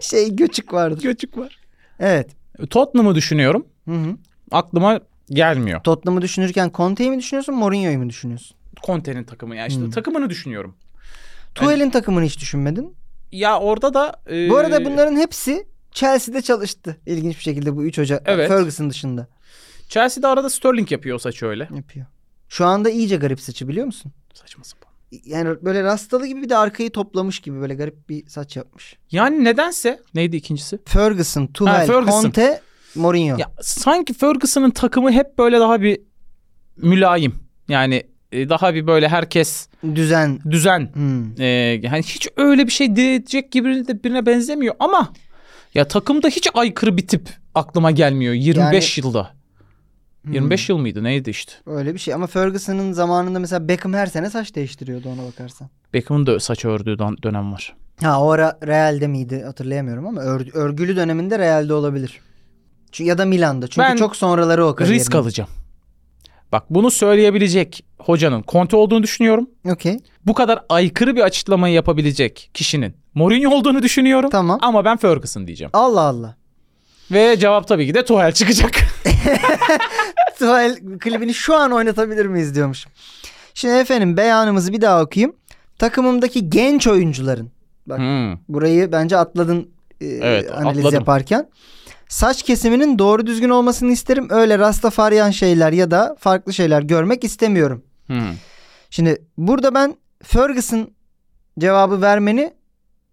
Speaker 3: şey göçük vardı.
Speaker 2: Göçük var.
Speaker 3: Evet.
Speaker 2: Tottenham'ı düşünüyorum.
Speaker 3: Hı hı.
Speaker 2: Aklıma gelmiyor.
Speaker 3: Tottenham'ı düşünürken Conte'yi mi düşünüyorsun Mourinho'yu mu düşünüyorsun?
Speaker 2: Conte'nin takımı yani işte
Speaker 3: Hmm.
Speaker 2: takımını düşünüyorum.
Speaker 3: Tuel'in takımını hiç düşünmedin.
Speaker 2: Ya orada da e,
Speaker 3: Bu arada bunların hepsi Chelsea'de çalıştı. İlginç bir şekilde bu 3 Ocak
Speaker 2: Evet.
Speaker 3: Ferguson dışında
Speaker 2: Chelsea'de arada Sterling yapıyor o saçı öyle.
Speaker 3: yapıyor. Şu anda iyice garip saçı biliyor musun?
Speaker 2: Saçma sapan.
Speaker 3: Yani böyle rastalı gibi bir de arkayı toplamış gibi böyle garip bir saç yapmış.
Speaker 2: Yani nedense neydi ikincisi?
Speaker 3: Ferguson, Tuchel,
Speaker 2: Ha, Ferguson.
Speaker 3: Conte Mourinho.
Speaker 2: Ya sanki Ferguson'ın takımı hep böyle daha bir mülayim. Yani e, daha bir böyle herkes
Speaker 3: Düzen.
Speaker 2: düzen.
Speaker 3: Hmm.
Speaker 2: E, yani hiç öyle bir şey diyecek gibi de birine benzemiyor ama ya takımda hiç aykırı bir tip aklıma gelmiyor 25 yılda. 25 yıl mıydı neydi işte.
Speaker 3: hmm. Öyle bir şey ama Ferguson'ın zamanında mesela Beckham her sene saç değiştiriyordu ona bakarsan.
Speaker 2: Beckham'ın da saç ördüğü dön- dönem var.
Speaker 3: Ha o ara Real'de miydi hatırlayamıyorum ama ör- örgülü döneminde Real'de olabilir. Çünkü ya da Milan'da. Çünkü
Speaker 2: Ben
Speaker 3: çok sonraları o kariyerin.
Speaker 2: Risk alacağım. Bak bunu söyleyebilecek hocanın Conte olduğunu düşünüyorum.
Speaker 3: Okey.
Speaker 2: Bu kadar aykırı bir açıklamayı yapabilecek kişinin Mourinho olduğunu düşünüyorum.
Speaker 3: Tamam.
Speaker 2: Ama ben Ferguson diyeceğim.
Speaker 3: Allah Allah.
Speaker 2: Ve cevap tabii ki de Tuchel
Speaker 3: (laughs)
Speaker 2: çıkacak.
Speaker 3: Tuval klibini şu an oynatabilir miyiz diyormuşum. Şimdi efendim beyanımızı bir daha okuyayım. Takımımdaki genç oyuncuların Bak.
Speaker 2: Hmm.
Speaker 3: Burayı bence atladın e,
Speaker 2: Evet,
Speaker 3: analiz
Speaker 2: atladım.
Speaker 3: yaparken. Saç kesiminin doğru düzgün olmasını isterim. Öyle rastafaryan şeyler ya da farklı şeyler görmek istemiyorum.
Speaker 2: Hmm.
Speaker 3: Şimdi burada ben Ferguson cevabı vermeni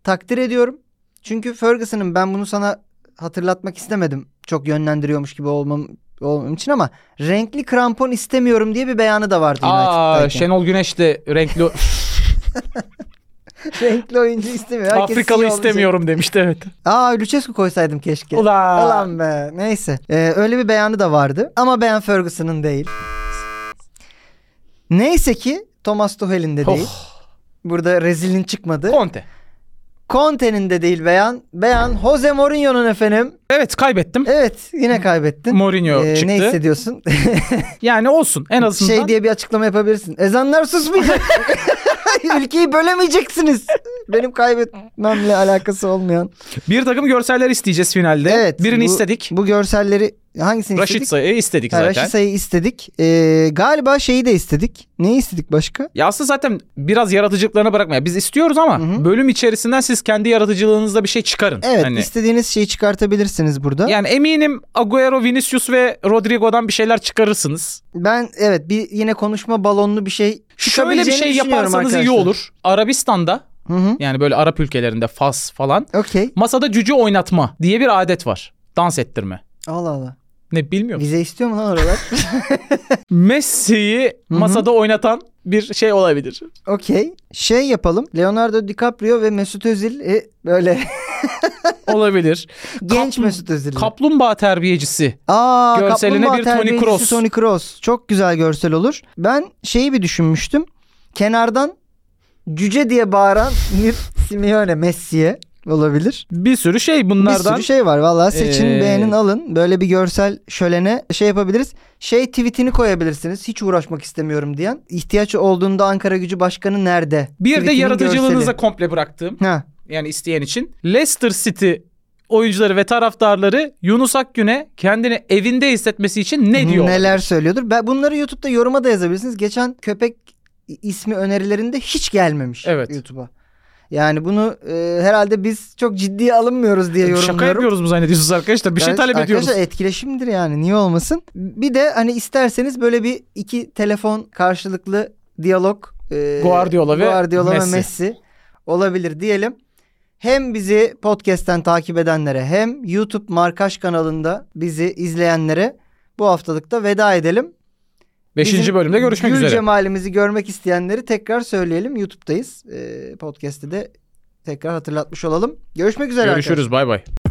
Speaker 3: takdir ediyorum. Çünkü Ferguson'ın ben bunu sana hatırlatmak istemedim. Çok yönlendiriyormuş gibi olmam, olmam için ama renkli krampon istemiyorum diye bir beyanı da vardı.
Speaker 2: Aa, şey-
Speaker 3: United'dayken.
Speaker 2: Şenol Güneş de renkli
Speaker 3: (laughs) renkli oyuncu istemiyor. Herkes
Speaker 2: Afrikalı
Speaker 3: siyah olacak.
Speaker 2: istemiyorum demişti evet.
Speaker 3: Aa Lucescu koysaydım keşke.
Speaker 2: Ulan.
Speaker 3: Ulan be neyse. Ee, öyle bir beyanı da vardı ama beğen Ferguson'ın değil. Neyse ki Thomas Tuchel'in de değil.
Speaker 2: Oh,
Speaker 3: Burada rezilin çıkmadı.
Speaker 2: Conte.
Speaker 3: Conte'nin de değil beyan. Beyan Jose Mourinho'nun efendim.
Speaker 2: Evet kaybettim.
Speaker 3: Evet yine kaybettin.
Speaker 2: Mourinho
Speaker 3: Ee,
Speaker 2: çıktı.
Speaker 3: Ne hissediyorsun?
Speaker 2: Yani olsun (laughs) en azından.
Speaker 3: şey diye bir açıklama yapabilirsin.
Speaker 2: (laughs)
Speaker 3: Ezanlar susmayacak. Ülkeyi bölemeyeceksiniz. Benim kaybetmemle alakası olmayan.
Speaker 2: Bir takım görseller isteyeceğiz finalde.
Speaker 3: Evet.
Speaker 2: Birini
Speaker 3: bu-
Speaker 2: istedik.
Speaker 3: Bu görselleri hangisini
Speaker 2: Raşit
Speaker 3: istedik?
Speaker 2: Say'ı istedik
Speaker 3: Ha,
Speaker 2: zaten.
Speaker 3: Raşit sayı istedik. Ee, galiba şeyi de istedik. Neyi istedik başka?
Speaker 2: Ya aslında zaten biraz yaratıcılıklarına bırakmaya. Biz istiyoruz ama
Speaker 3: Hı hı.
Speaker 2: bölüm içerisinden siz kendi yaratıcılığınızda bir şey çıkarın.
Speaker 3: Evet
Speaker 2: Hani-
Speaker 3: istediğiniz şeyi çıkartabilirsiniz burada.
Speaker 2: yani eminim Agüero, Vinicius ve Rodrigo'dan bir şeyler çıkarırsınız.
Speaker 3: Ben evet bir yine konuşma balonlu bir şey
Speaker 2: Şöyle bir şey yaparsanız iyi olur. Arabistan'da
Speaker 3: Hı hı.
Speaker 2: yani böyle Arap ülkelerinde Fas falan
Speaker 3: Okey.
Speaker 2: masada cücü oynatma diye bir adet var. Dans ettirme.
Speaker 3: Allah Allah.
Speaker 2: Ne bilmiyorum.
Speaker 3: Vize istiyor mu
Speaker 2: (laughs)
Speaker 3: lan oralar?
Speaker 2: Messi'yi
Speaker 3: hı.
Speaker 2: masada oynatan bir şey olabilir.
Speaker 3: Okey. Şey yapalım. Leonardo DiCaprio ve Mesut Özil e, böyle (laughs)
Speaker 2: olabilir.
Speaker 3: genç
Speaker 2: Kapl-
Speaker 3: Mesut Özil.
Speaker 2: Kaplumbağa terbiyecisi.
Speaker 3: Aa,
Speaker 2: Görseline
Speaker 3: Kaplumbağa
Speaker 2: bir Toni
Speaker 3: terbiyecisi
Speaker 2: Kroos.
Speaker 3: Toni Kroos. Çok güzel görsel olur. Ben şeyi bir düşünmüştüm. Kenardan cüce diye bağıran
Speaker 2: (laughs)
Speaker 3: bir Simeone Messi'ye olabilir.
Speaker 2: Bir sürü şey
Speaker 3: Bir
Speaker 2: bunlardan.
Speaker 3: sürü şey var. Vallahi seçin,
Speaker 2: Ee,
Speaker 3: beğenin, alın. Böyle bir görsel şölene şey yapabiliriz. Şey tweetini koyabilirsiniz. Hiç uğraşmak istemiyorum diyen. İhtiyaç olduğunda Ankara Gücü Başkanı nerede?
Speaker 2: Bir de
Speaker 3: Tweetinin
Speaker 2: yaratıcılığınıza
Speaker 3: görseli.
Speaker 2: komple bıraktığım
Speaker 3: Ha.
Speaker 2: yani isteyen için Leicester City oyuncuları ve taraftarları Yunus Akgün'e kendini evinde hissetmesi için ne diyor?
Speaker 3: Neler söylüyordur. Ben bunları YouTube'da yoruma da yazabilirsiniz. Geçen köpek ismi önerilerinde hiç gelmemiş
Speaker 2: Evet.
Speaker 3: YouTube'a. Yani bunu e, herhalde biz çok ciddiye alınmıyoruz diye yorumluyorum.
Speaker 2: Şaka yapıyoruz mu zannediyorsunuz arkadaşlar? Bir şey
Speaker 3: Yani
Speaker 2: talep ediyoruz.
Speaker 3: Arkadaşlar etkileşimdir yani niye olmasın. Bir de hani isterseniz böyle bir iki telefon karşılıklı diyalog. e,
Speaker 2: Guardiola ve
Speaker 3: Guardiola ve
Speaker 2: Messi.
Speaker 3: Messi olabilir diyelim. Hem bizi podcast'ten takip edenlere hem YouTube Markaş kanalında bizi izleyenlere bu haftalıkta veda edelim.
Speaker 2: Beşinci
Speaker 3: Bizim
Speaker 2: bölümde görüşmek
Speaker 3: gül
Speaker 2: üzere.
Speaker 3: cemalimizi görmek isteyenleri tekrar söyleyelim. YouTube'dayız. E, podcast'te de tekrar hatırlatmış olalım. Görüşmek üzere
Speaker 2: Görüşürüz bay bay.